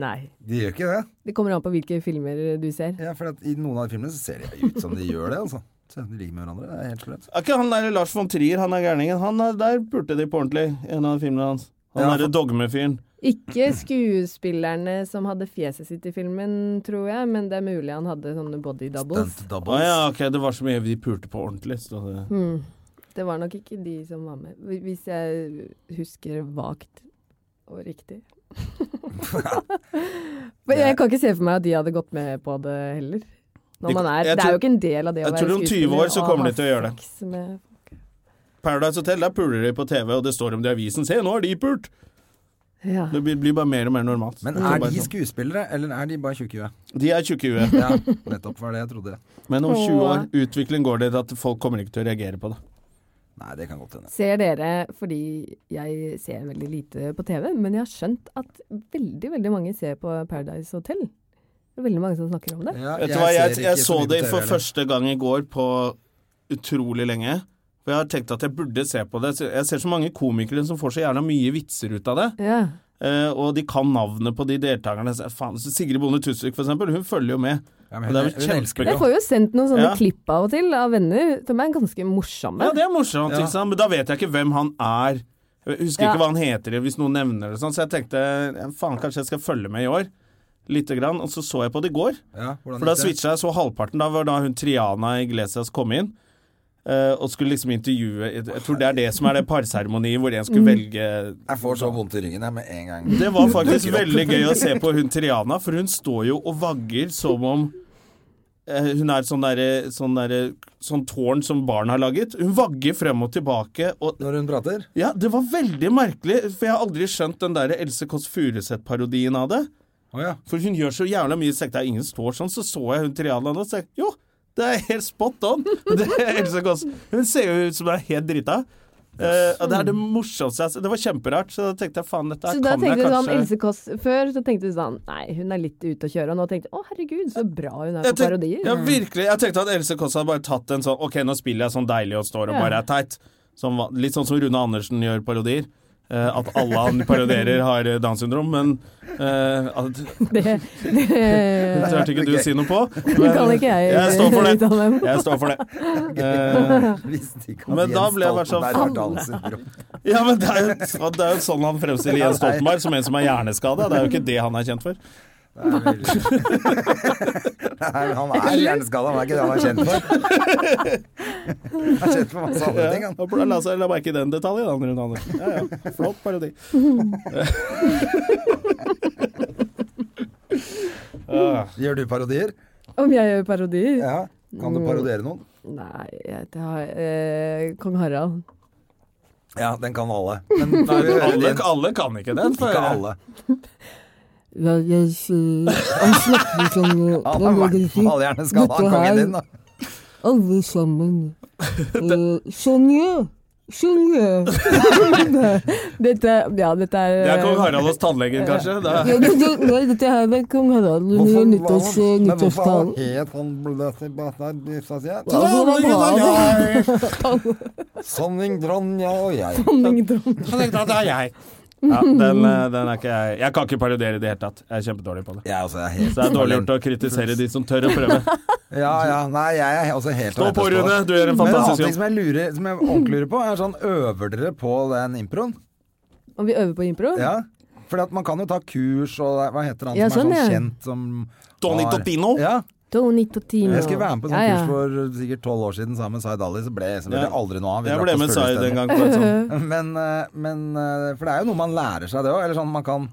Nei.
De gjør ikke det.
Det kommer an på hvilke filmer du ser.
Ja, for at I noen av filmene så ser de ut som de gjør det, altså. Så de ligger med hverandre. Det er helt sløvt.
Er ikke han der Lars von Trier, han er gærningen? Han er, der pulte de på ordentlig, i en av filmene hans. Han
Ja,
derre
for-
dogmefyren.
Ikke skuespillerne som hadde fjeset sitt i filmen, tror jeg, men det er mulig han hadde sånne body doubles.
Å
Stunt doubles.
Ah, ja, ok, det var så mye de pulte på ordentlig. Så det...
Hmm. Det var nok ikke de som var med, hvi- hvis jeg husker vagt
*laughs*
og riktig. Men jeg kan ikke se for meg at de hadde gått med på det heller. Når
De-
man er,
jeg
det er jo
tror-
ikke en del av det å
jeg
være
tror
skuespiller.
om 20 år så
og
kommer de
ha
til å gjøre det.
sex Med,
Paradise Hotel, der puler de på TV, og det står om det i avisen. Se, nå har de pult!
ja.
Det blir blir bare mer og mer normalt.
Men
Det
er
bare
de
sånn.
skuespillere, eller er de bare tjukke i huet?
*laughs* De er tjukke i huet.
Ja, nettopp var det jeg trodde.
Men om 20 år,
Åh.
utvikling går dit at folk kommer ikke til å reagere på det.
Nei, det kan godt hende.
Ser dere, fordi jeg ser veldig lite på TV, men jeg har skjønt at veldig, veldig mange ser på Paradise Hotel. Det er veldig mange som snakker om det.
Ja,
Vet du hva, jeg,
ser
jeg,
ikke
så
mye på
det
TV
for
heller.
første gang i går på utrolig lenge. For jeg har tenkt at jeg burde se på det. Så Jeg ser så mange komikere som får så gjerne mye vitser ut av det.
Ja.
Eh, og de kan navnet på de deltakerne. Så- Faen, så Sigrid Bonde Tusvik, for eksempel, hun følger jo med.
Ja, men
Og det er
hun-
vel
hun elsker det
Jeg
jo.
får jo sendt noen sånne
Ja.
klipp av og til av venner som er ganske morsomme.
Ja, det er morsomt,
Ja.
ikke sant? men da vet jeg ikke hvem han er. Jeg husker
Ja.
ikke hva han heter hvis noen nevner det, sånn. så jeg tenkte ja, faen, kanskje jeg skal følge med i år. Lite grann. Og så så jeg på det i går.
Ja, hvordan
For da
gikk det?
switcha jeg så halvparten. Da var da hun Triana Iglesias kom inn. eh, og skulle liksom intervjue Jeg jeg tror det er det som er det parseremoniet hvor en skulle velge
Jeg får så vondt i ryggen jeg, med en gang.
Det var faktisk
dukker opp.
veldig gøy å se på hun Triana, for hun står jo og vagger som om eh, hun er sånn derre sånn, derre- sånn tårn som barn har laget. Hun vagger frem og tilbake, og
Når hun prater?
Ja, det var veldig merkelig, for jeg har aldri skjønt den derre Else Kåss Furuseth-parodien av det.
Å ja.
For hun gjør så jævla mye sekt. Det er ingen står sånn. Så så jeg hun Triana nå og tenkte jo, det er helt spot on. *laughs* Det er helt så godt. Hun ser jo ut som hun er helt drita. Eh, og det er det morsomste jeg har sett. Det var kjemperart. Så da tenkte jeg faen, dette
Så
her
da
kan jeg
tenkte du sånn,
kanskje
Else Kåss Før så tenkte du sånn Nei, hun er litt ute å kjøre. Og nå tenkte jeg å herregud, så bra hun er
Jeg
på
tenk-
Altså, parodier.
Ja, virkelig. Jeg tenkte at Else Kåss hadde bare tatt en sånn Ok, nå spiller jeg sånn deilig og står og
Ja.
bare er teit. Som, va- litt sånn som Rune Andersen gjør parodier. Eh, at alle han
*laughs*
parodierer har eh, Downs syndrom, men eh, at,
Det, det,
*laughs* Det turte ikke du å si noe på.
det kan ikke jeg,
Jeg
*laughs*
står for det.
uttale meg om.
Jeg står for det. Eh,
*laughs* Visste ikke at
Men
Jens
da ble jeg bare sånn,
Stoltenberg har Downs syndrom.
Ja, men det er jo, det er jo sånn han fremstiller Jens Stoltenberg, som en som er hjerneskada. Det er jo ikke det han er kjent for.
Det er veldig- Nei, Han er hjerneskada, han er ikke det han er kjent for. Han er kjent for masse andre ting,
Ja,
han.
Eh, og la, la, la merke i den detaljen, da, Rune Andersen. Ja, ja. Flott parodi. Ah,
Gjør du parodier?
Om jeg gjør parodier?
Ja. Kan du parodiere noen?
Nei, jeg, det har, eh, Kong Harald.
Ja, den kan alle. Men
Nei, men alle,
Ikke
alle kan ikke den. får jeg-
alle.
Ja, jeg
*laughs*
Han snakker sånn
Han er i hvert fall hjerneskada, han kongen din, da.
Alle
*laughs*
sammen. sånn, Sonje! Sonje! *laughs* dette, ja, dette er
Det er kong Harald hos tannlegen, kanskje. Det er,
Ja, det, det, nei, dette her er kong Harald under
Hvorfor
nyttårs, eh,
var han- men hvorfor
nyttårstalen.
het han Bløthi Bata Bifta Sjæ?
Ja, det var bra, *laughs*
Sonning Dronja og jeg.
Dronning Dronning.
Så tenkte *laughs* jeg at det er jeg. Ja, den, *laughs* eh, den er ikke jeg. Jeg kan ikke parodiere i det hele tatt. Jeg er kjempedårlig på det.
Jeg også er helt
Så det er dårlig gjort å kritisere de som tør å *laughs* prøve.
Ja, ja. Nei, jeg er også helt
Stå på,
alene.
Rune. Du gjør en
Men en annen
fantastisk
ting
jobb.
som jeg lurer Som jeg ordentlig lurer på, er sånn Øver dere på den improen?
Om vi øver på impro?
Ja. Fordi at man kan jo ta kurs og det- Hva heter han
Ja,
som er sånn
sånn, ja.
kjent som
Donny
har-
Totino.
Ja.
Tony Totino.
Jeg skulle være med på sånn
Ja, ja.
kurs for sikkert tolv år siden sammen med Zaid Ali, så ble, så ble
Ja.
det aldri noe av. Vi
Jeg
drakk
ble
oss
med
fulle
Zaid
isteden.
en gang på et *laughs* sånt.
Men, eh, men eh, For det er jo noe man lærer seg, det òg. Eller sånn man kan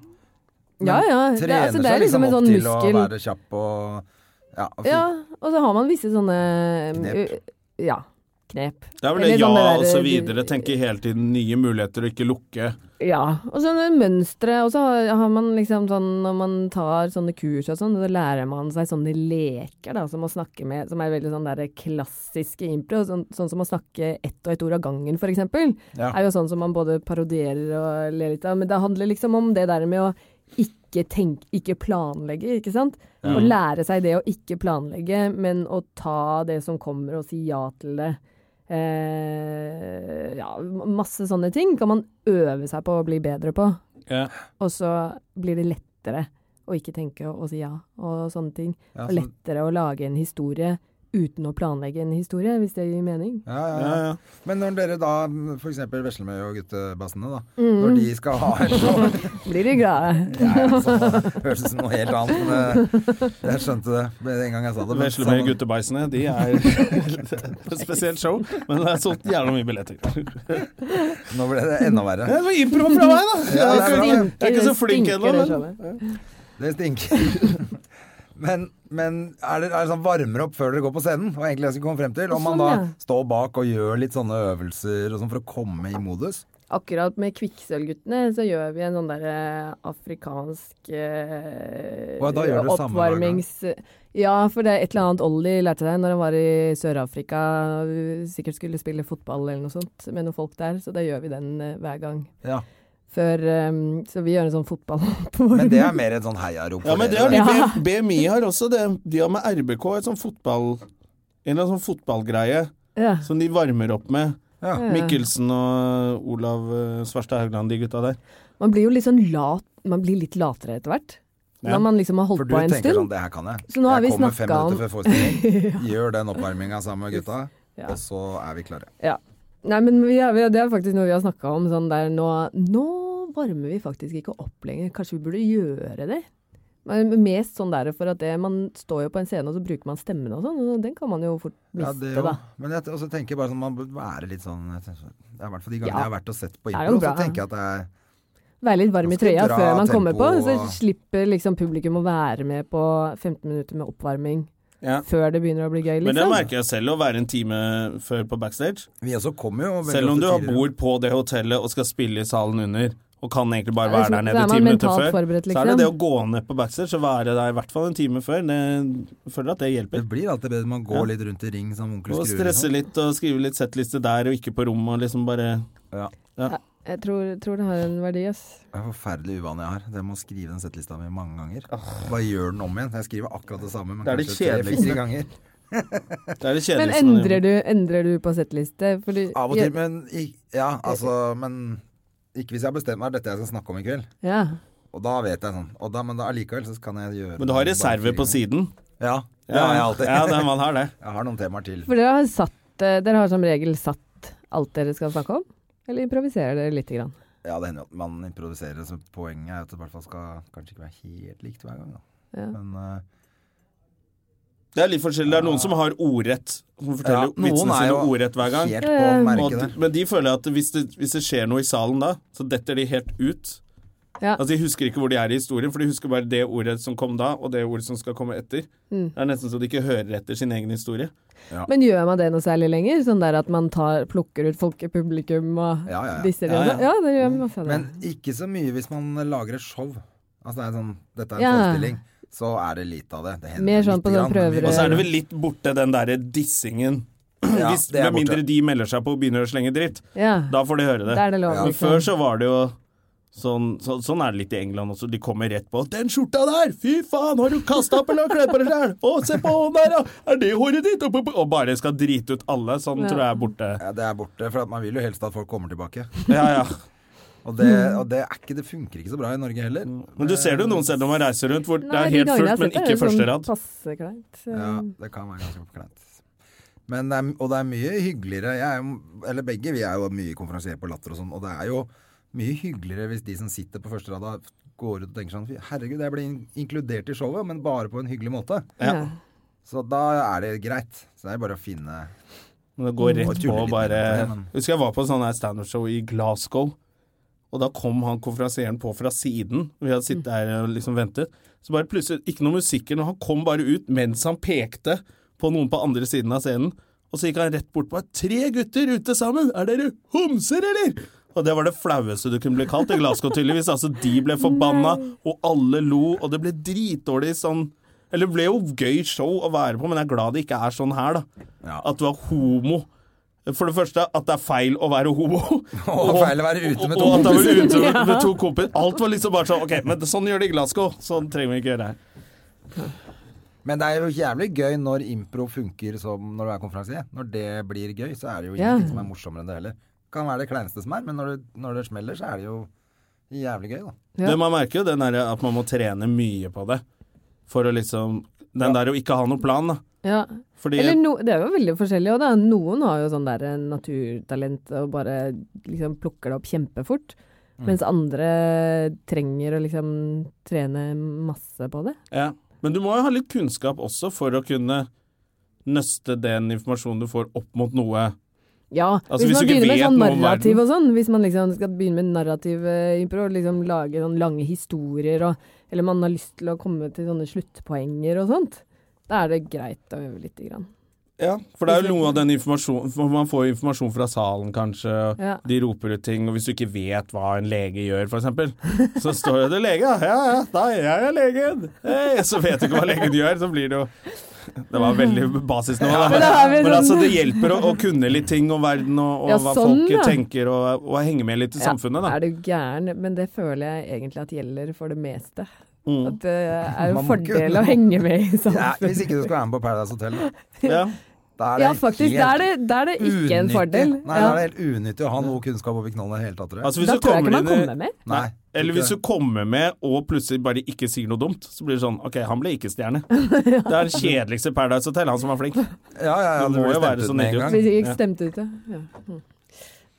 Ja, ja. Det, er-
trene
altså, det
seg
er liksom
liksom
en
opp
sånn
til å
muskel.
være kjapp og Ja. og fint.
Ja, og så har man visse sånne
Knep.
u- Ja. Knep.
Det er vel det
Eller
ja
sånn det
og
der-
så videre. Tenke hele tiden nye muligheter og ikke lukke.
Ja, og så mønstre, og så har- har man liksom sånn, når man tar sånne kurs og sånn, så lærer man seg sånne leker da, som å snakke med, som er veldig sånn der klassiske impro, sånn, sånn som å snakke ett og ett ord av gangen for eksempel,
Ja.
er jo sånn som man både parodierer og ler litt av, men det handler liksom om det der med å ikke ikke, tenk, ikke planlegge, ikke sant? Å lære seg det å ikke planlegge, men å ta det som kommer og si ja til det. Eh, ja, masse sånne ting kan man øve seg på å bli bedre på.
Ja.
Og så blir det lettere å ikke tenke og si ja og sånne ting.
Ja,
Og
sånn-
lettere å lage en historie uten å planlegge en historie, hvis det gir mening.
ja, ja,
Ja,
ja.
ja.
Men når dere da, f.eks. Veslemøy og guttebassene, da.
Mm.
Når de skal ha et show
Blir de glade?
ja, ja, så Høres ut som noe helt annet, men eh, jeg skjønte det med en gang jeg sa det. men sånn,
Veslemøy
sammen-
Guttebeisene, de er *laughs* et spesielt show, men det er solgt jævla mye billetter.
Nå ble det enda verre.
Det var impro fra meg, da! Jeg
Ja, det
er
er bra,
ikke,
det.
jeg er ikke så flink
Stinker,
ennå,
det
men
skjønner jeg.
Det stinker. *laughs* Men, men er det, er det sånn varmer opp før dere går på scenen? Og egentlig det jeg skulle komme frem til Om man da
Sånn, ja.
står bak og gjør litt sånne øvelser og sånn for å komme i modus?
Akkurat med Kvikksølvguttene så gjør vi en sånn der eh, afrikansk eh,
Å, da gjør dere samme hver gang.
oppvarmings... Ja, for det er et eller annet Ollie lærte seg når han var i Sør-Afrika. og Sikkert skulle spille fotball eller noe sånt med noen folk der, så da gjør vi den eh, hver gang.
Ja.
Før, eh, så vi gjør en sånn fotball *laughs* på
Men det er mer et sånn heiarop.
Ja,
for
men det
dere,
har
da.
de,
*laughs* Ja.
B- BMI har også det. De har med RBK et sånn fotball... En eller annen sånn fotballgreie
ja.
som de varmer opp med.
Ja.
Mikkelsen og Olav eh, Svarstad Haugland, de gutta der.
Man blir jo litt sånn lat Man blir litt latere etter hvert.
Ja.
Når man liksom har
For
holdt
du
på en
tenker
stund.
sånn, det her kan jeg.
Så nå har vi
jeg kommer fem
snakket om-
minutter før
*laughs*
forestilling, gjør den oppvarminga sammen med gutta, og så er vi klare.
Nei, men vi er, vi er, det er faktisk noe vi har snakka om. Sånn der, nå, nå varmer vi faktisk ikke opp lenger. Kanskje vi burde gjøre det? Men mest sånn der for at det, man står jo på en scene og så bruker man stemmen og sånn. Og den kan man jo fort
Ja,
miste,
det jo.
da.
Men jeg også tenker bare sånn, man bør være litt sånn jeg tenker sånn- Det er i hvert fall de gangene
Ja.
jeg har vært og sett på
er
impro,
jo
så
bra.
tenker jeg at det er
Være litt varm
Man
i
skal
trøya
dra
før man kommer på.
tempo
Så
og-
slipper liksom publikum å være med på 15 minutter med oppvarming
Ja.
før det begynner å bli gøy,
Men det
liksom.
merker jeg selv, å være en time før på backstage.
Vi også kommer jo veldig
Selv om
ofte
du har
tidligere.
bord på det hotellet og skal spille i salen under, og kan egentlig bare
Ja,
være
liksom,
der
så
nede
er
ti
man
minutter
mentalt
før,
forberedt,
så er det
liksom.
det å gå ned på backstage og være der i hvert fall en time før, det, jeg føler at det hjelper.
Det blir alltid bedre man går
Ja.
litt rundt i ring som onkel
Og
Skrue. liksom.
stresse litt og skrive litt settliste der og ikke på rommet og liksom bare
Ja.
Jeg tror, tror det har en verdi, ass.
Det er forferdelig uvane jeg har. Det med å skrive den settelista mi mange ganger. Bare gjør den om igjen. Jeg skriver akkurat det samme, men
Det er det
kanskje tre-fire
kjedeligste.
ganger.
Det er sånn det
Men
kjedeligste. man
endrer
gjør.
du, endrer du på settliste? Fordi-
Av og til, men ik- Ja, altså, men ikke hvis jeg har bestemt meg dette jeg skal snakke om i kveld.
Ja.
Og da vet jeg sånn. Og da, men da allikevel så kan jeg gjøre
Men du har
det bare
reserve
fire
på
ganger.
siden?
Ja. Det har jeg alltid.
Ja,
*laughs*
det, man har det.
Jeg har noen temaer til.
For dere har, satt, eh, dere har som regel satt alt dere skal snakke om? Eller improviserer dere lite grann?
Ja, det hender jo at man improviserer, så poenget er at det i hvert fall skal kanskje ikke være helt likt hver gang, da.
Ja.
Men eh,
Det er litt forskjellig. Det er noen som har ordrett, som forteller
Ja, noen
vitsene
er
sine
jo
ordrett hver gang.
helt
Eh,
på
Og,
merket
de-
der.
men de føler at hvis det, hvis det skjer noe i salen da, så detter de helt ut.
Ja.
Altså De husker ikke hvor de er i historien, for de husker bare det ordet som kom da, og det ordet som skal komme etter.
Mm.
Det er nesten så de ikke hører etter sin egen historie.
Men gjør man det noe særlig lenger? Sånn der at man tar, plukker ut folk i publikum og
Ja, ja, ja.
disser dem?
Ja, Mm.
Ja,
ja.
det gjør vi masse av det.
Men ikke så mye hvis man lager et show. Altså det er sånn, dette er en
Ja.
forestilling, så er det lite av det. det hender
Mer sånn
lite
på sånn
grann, men
prøver-
mye-
Og så er det vel litt borte den derre dissingen. *clears throat*
Ja,
hvis,
det er
med mindre
borte.
de melder seg på og begynner å slenge dritt.
Ja,
Da får de høre det.
da er det lov.
Ja.
Men
liksom.
før så var det jo sånn, så, sånn er det litt i England også. De kommer rett på 'Den skjorta der! Fy faen, har du kasta opp eller har kledd på deg sjæl?' 'Å, se på hånden der, ja! Er det håret ditt?' Og, og bare skal drite ut alle. Sånn
Ja.
tror jeg er borte.
Ja, det er borte, for at man vil jo helst at folk kommer tilbake.
Ja, ja.
Og det, og det, er ikke, det funker ikke så bra i Norge heller.
Men du ser det jo noen steder når man reiser rundt hvor det
Nei,
er
de
helt
gangene jeg har
fullt, men
sett det, er
ikke
jo sånn
første rad.
Passe kleint. så-
Ja, det kan være ganske kleint. Men det er, og det er mye hyggeligere jeg er, jo- Eller begge, vi er jo mye konferansier på latter og sånn, og det er jo mye hyggeligere hvis de som sitter på første rad, går ut og tenker sånn Herregud, jeg ble in inkludert i showet, men bare på en hyggelig måte.
Ja.
Så da er det greit. Så det er bare å finne
Men det går rett
tuller
på
litt
bare
med det, men-
Husker jeg var på en sånn her standup-show i Glasgow, og da kom han konferansieren på fra siden. Vi hadde sittet der og liksom ventet. Så bare plutselig, ikke noe musikk eller noe, han kom bare ut mens han pekte på noen på andre siden av scenen. Og så gikk han rett bort på meg. Tre gutter ute sammen, er dere homser, eller? Og det var det flaueste du kunne bli kalt i Glasgow, tydeligvis. Altså, de ble forbanna, og alle lo, og det ble dritdårlig sånn Eller det ble jo gøy show å være på, men jeg er glad det ikke er sånn her, da.
Ja.
At du er homo For det første at det er feil å være homo.
*laughs* Og feil å være ute med to
og at det er
kompiser.
*laughs*
ute med, med to kompiser. Alt var liksom bare sånn Ok, men det- sånn gjør de i Glasgow. Sånn trenger vi ikke gjøre her.
Men det er jo jævlig gøy når impro funker som når du er konferansier. Når det blir gøy, så er det jo
Ja.
ingenting som er morsommere enn det heller. Kan være det kleineste som er, men når det, når det smeller, så er det jo jævlig gøy, da.
Ja.
Det man merker jo, den er at man må trene mye på det. For å liksom Den der å ikke ha noen plan, da.
Ja.
Fordi
Eller no, det er jo veldig forskjellig, og da, noen har jo sånn der eh, naturtalent og bare liksom plukker det opp kjempefort.
Mm.
Mens andre trenger å liksom trene masse på det.
Ja. Men du må jo ha litt kunnskap også for å kunne nøste den informasjonen du får, opp mot noe.
Ja,
Altså, hvis
hvis, man
du ikke
begynner med
vet
sånn
noe om
narrativ
verden.
og sånn, hvis man liksom skal begynne med narrativ eh, impro, og liksom lage sånn lange historier og Eller man har lyst til å komme til sånne sluttpoenger og sånt, da er det greit å øve lite grann.
Ja, for det er jo noe av den informasjonen for Man får jo informasjon fra salen, kanskje. og
Ja.
De roper ut ting. Og hvis du ikke vet hva en lege gjør, f.eks., så står jo det lege. da. Ja, ja, da er jeg legen. Hey, så vet du ikke hva legen gjør, så blir det jo *laughs* Det var veldig basisnivå, da.
men da har vi
Men
sånn-
altså, det hjelper å, å kunne litt ting om verden og, og
Ja,
hva
sånn,
folk
ja.
tenker, og, og henge med litt i samfunnet, da.
Er du gæren? Men det føler jeg egentlig at gjelder for det meste.
Mm.
At det er
Man
en
må
fordel
kunne-
å henge med i
Ja,
samfunnet.
hvis ikke du skal være med på Paradise Hotel, da.
Ja.
da er det
Ja, faktisk.
helt
Da er det, da er det ikke en
unyttig.
fordel.
Nei, da
Ja.
er det helt unyttig å ha noe kunnskap over knollen i det hele tatt, tror jeg.
Altså, hvis
Da
du
tror jeg ikke
kommer
man
inn i-
kommer med.
Nei.
Eller hvis du kommer med og plutselig bare ikke sier noe dumt, så blir det sånn OK, han ble ikke stjerne. Det er den kjedeligste Paradise Hotel, han som var flink.
Ja, ja, ja,
Du
du
må
blir
jo
stemt
være
ut
sånn
med en
idiot.
gang.
Hvis jeg
Ja.
ikke stemte ut, ja. ja. Mm.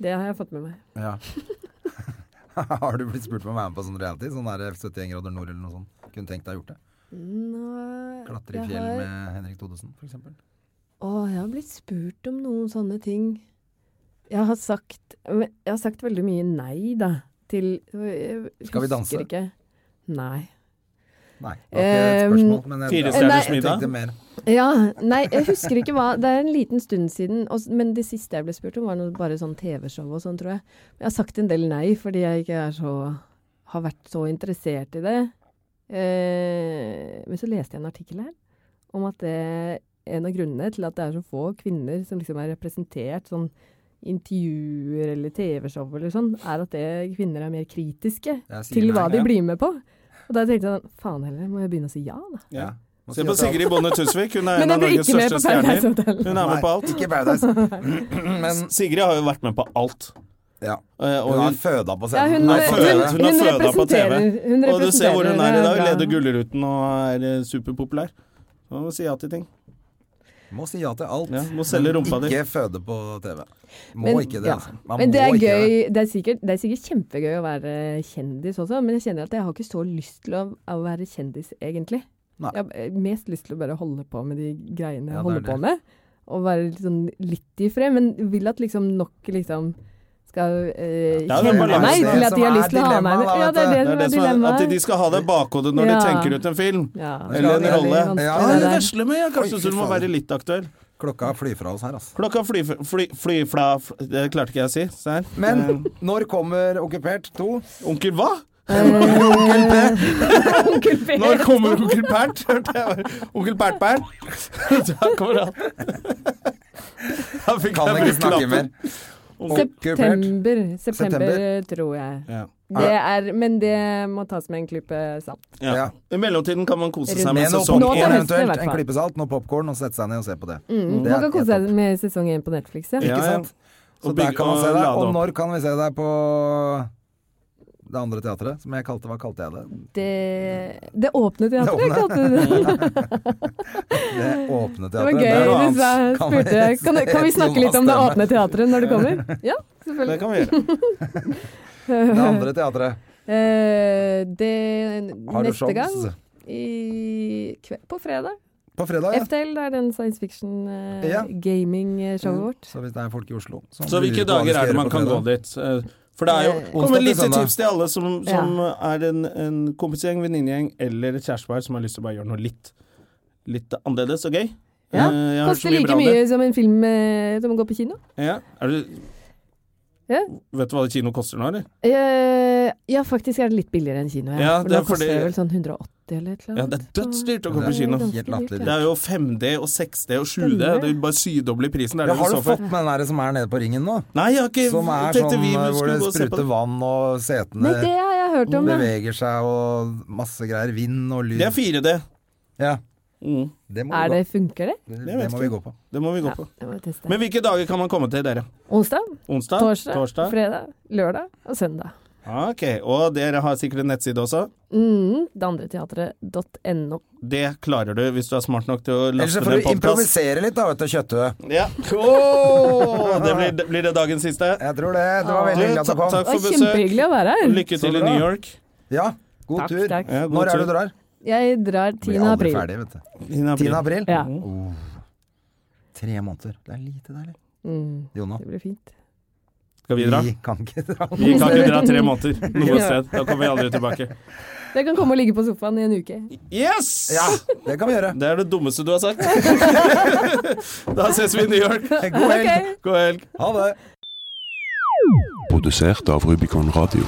Det har jeg fått med meg.
Ja. *laughs* Har du blitt spurt om å være med på sånn reality? Sånn der 71 grader nord eller noe sånt? Kunne tenkt deg å gjort det?
Nå,
Klatre i
jeg
fjell
har-
med Henrik Thodesen, for eksempel?
Å, jeg har blitt spurt om noen sånne ting. Jeg har sagt men Jeg har sagt veldig mye nei, da. Til jeg
Skal vi
husker
danse?
Ikke. Nei.
Nei, det var ikke et
Ehm,
spørsmål, men jeg,
Fire
Nei.
stjerners
jeg
middag.
tenkte mer.
Ja, nei, jeg husker ikke hva Det er en liten stund siden, og, s- men det siste jeg ble spurt om, var noe bare sånn TV-show og sånn, tror jeg. Men jeg har sagt en del nei, fordi jeg ikke er så Har vært så interessert i det. Eh, men så leste jeg en artikkel her om at det en av grunnene til at det er så få kvinner som liksom er representert sånn i intervjuer eller TV-show eller sånn, er at det kvinner er mer kritiske
Jeg sier
til
nei,
hva de
ja.
blir med på. Og da tenkte jeg sånn, faen heller, må jeg begynne å si ja, da.
Ja.
Må
Se
si
på
at jeg-
Sigrid Bonde Tusvik, hun er en
Men
av
jeg blir
Norges
ikke med
største
på Paradise
stjerner.
Hotel.
Hun er med på alt.
Nei, ikke
*laughs*
Paradise. *clears throat* Men
Sigrid har jo vært med på alt. Eh,
ja. Hun
Og
har
hun,
føda på
Ja,
scenen.
hun,
Nei,
på
føda.
TV.
Hun
hun,
er
hun
føda på TV.
representerer hun
og du ser hvor hun er i dag.
representerer eh,
Leder
bra.
Gullruten og er eh, superpopulær. Man må si ja til ting.
Må si ja til alt.
Ja, må selge rumpa di.
Ikke føde på TV. Må
Men-
ikke det.
ja.
altså. Man
Men det
må
er
ikke det.
gøy. Det er, sikkert, det er sikkert kjempegøy å være kjendis også, men jeg kjenner at jeg har ikke så lyst til å, å være kjendis, egentlig.
Nei.
Jeg har eh, mest lyst til å bare holde på med de greiene jeg
Ja, det er
holder på med, og være litt, sånn, litt i fred, men vil at liksom nok liksom skal eh,
Det er jo en
kjenne
balanse.
meg
Det
til at
som
de har
er
lyst til å ha meg
dilemmaet,
med.
da,
Ja,
vet
det er
du.
Det er det som er, at de
det som er dilemmaet.
skal ha det i bakhodet når de
Ja.
tenker ut en film.
Ja,
Eller en
det er veldig
rolle.
vanskelig,
Ja,
Ja,
det
det *laughs*
der.
vesler med. ja. Kanskje
Oi,
du
fy
må
faen.
være litt aktuell.
Klokka flyr fra oss her, altså.
Klokka fly, fly, fly, fla, fl- Det klarte ikke jeg å si. Se her.
Men når kommer Okkupert 2?
Onkel hva?
*laughs* Onkel P.
Når kommer onkel Pert? *laughs* Hørte jeg bare. Onkel Pert-Pert. *laughs* Da kommer han. Da fikk
Kan
jeg
ikke
brukt
snakke
lappen.
mer.
September, september,
September.
tror jeg.
Ja.
Det er, men det må tas med en klype salt.
Ja.
Ja.
I mellomtiden kan man kose seg
Rundt-
med
Med noe
sesong
Nå til
én.
popcorn
høsten, i hvert
eventuelt. En
fall.
klype salt, noe popcorn, og sette seg ned og se på det.
Mm.
Det
Man
er
kan kose
helt
seg med sesong én på Netflix, ja.
Ja.
Ikke sant? Så
Og
der
bygge-
kan man se
og
det.
lade
Og
opp.
når kan vi se deg på det andre teatret? Som jeg kalte Hva kalte jeg det?
Det, det åpne teatret,
Det åpne.
kalte
*laughs*
du det.
Det åpne
Det var
teatret.
gøy.
er noe
Du
annet.
sa,
Kan vi-
spurte jeg kan, du- kan vi snakke litt om det åpne teatret når det
*laughs*
kommer. Ja,
Det
selvfølgelig.
kan vi gjøre.
Det andre teatret.
*laughs* Eh, det
Har du
neste gang
shows?
i kve, på fredag.
På fredag, ja.
FTL, det er den science fiction eh,
Ja. Mm.
gaming-showet vårt.
Så hvis det er folk i Oslo som
Så
lurer
hvilke
på hva de
dager
skal
er det
gjøre
man
på
kan gå
fredag.
dit? Eh, For det er jo
Eh,
Kom med
Onsdag til
litt
søndag.
tips til alle som, som eh, er en, en kompisgjeng, venninnegjeng eller et kjærestepar som har lyst til å bare gjøre noe litt, litt annerledes og gøy.
Mm. Ja,
Eh, jeg har hørt så
Koster like
bra om det.
mye som en film eh, som går på kino.
Ja. Er du,
Ja.
Vet du hva kino koster nå, eller?
Eh, ja, faktisk er det litt billigere enn kino. Ja,
Ja,
for
det
nå
er fordi-
koster det vel sånn 180 80 eller et eller
Ja,
annet.
det er dødsdyrt å gå på
Det er
kino.
ganske
Helt latterlig.
dyrt,
Det er jo 5D og 6D og 7D.
Stemmer.
Det er bare sydobler prisen. Det er
Ja,
det
har
vi
du
så for.
fått med den der som er nede på ringen nå?
Nei, jeg har ikke
Som er
tenkte
sånn
vi
eh, hvor
skulle
det
gå og se på
spruter
det.
vann og
Nei, det
setene
har jeg hørt om, ja.
beveger seg og masse greier. Vind og lyd.
Det er 4D.
Ja,
Mm.
det må,
Er
vi,
det, funker det?
gå. Det,
Jeg
det
vet
må
ikke.
vi gå på.
Det må vi gå
Ja,
på.
det må jeg teste.
Men hvilke dager kan man komme til dere?
Onsdag,
Onsdag?
torsdag, fredag, lørdag og søndag.
Ah, Ok, Og dere har sikkert en nettside også?
Mm, Deandreteatret.no.
Det klarer du hvis du er smart nok til å
Ellers
laste
så får
ned
du
podkast.
improvisere litt, da, vet du, Kjøtthue.
Ja. Åh, det blir, det blir det dagens siste.
Jeg tror det. Det var veldig
Du,
hyggelig at du
ta-
kom.
takk
Det
for
var
besøk.
kjempehyggelig å være her.
Lykke til
Så
i
bra.
New York.
Ja, god
Takk,
tur.
takk.
Ja, god
Når er det
tur.
du drar?
Jeg drar 10.
Blir aldri
april.
ferdig, vet du.
Tina
10.
Brie.
april?
Ja.
Oh. Tre måneder. Det er lite deilig.
Mm,
Jonna,
det blir fint.
Skal vi dra?
vi kan ikke dra.
Vi kan ikke dra tre
*laughs*
måneder noe sted. Da kommer vi aldri tilbake.
Dere kan komme og ligge på sofaen i en uke.
Yes!
Ja, det kan vi *laughs* gjøre.
Det er det dummeste du har sagt. *laughs* da ses vi i New York.
God helg.
Ok.
God helg.
Ha det.
Produsert av Rubicon Radio.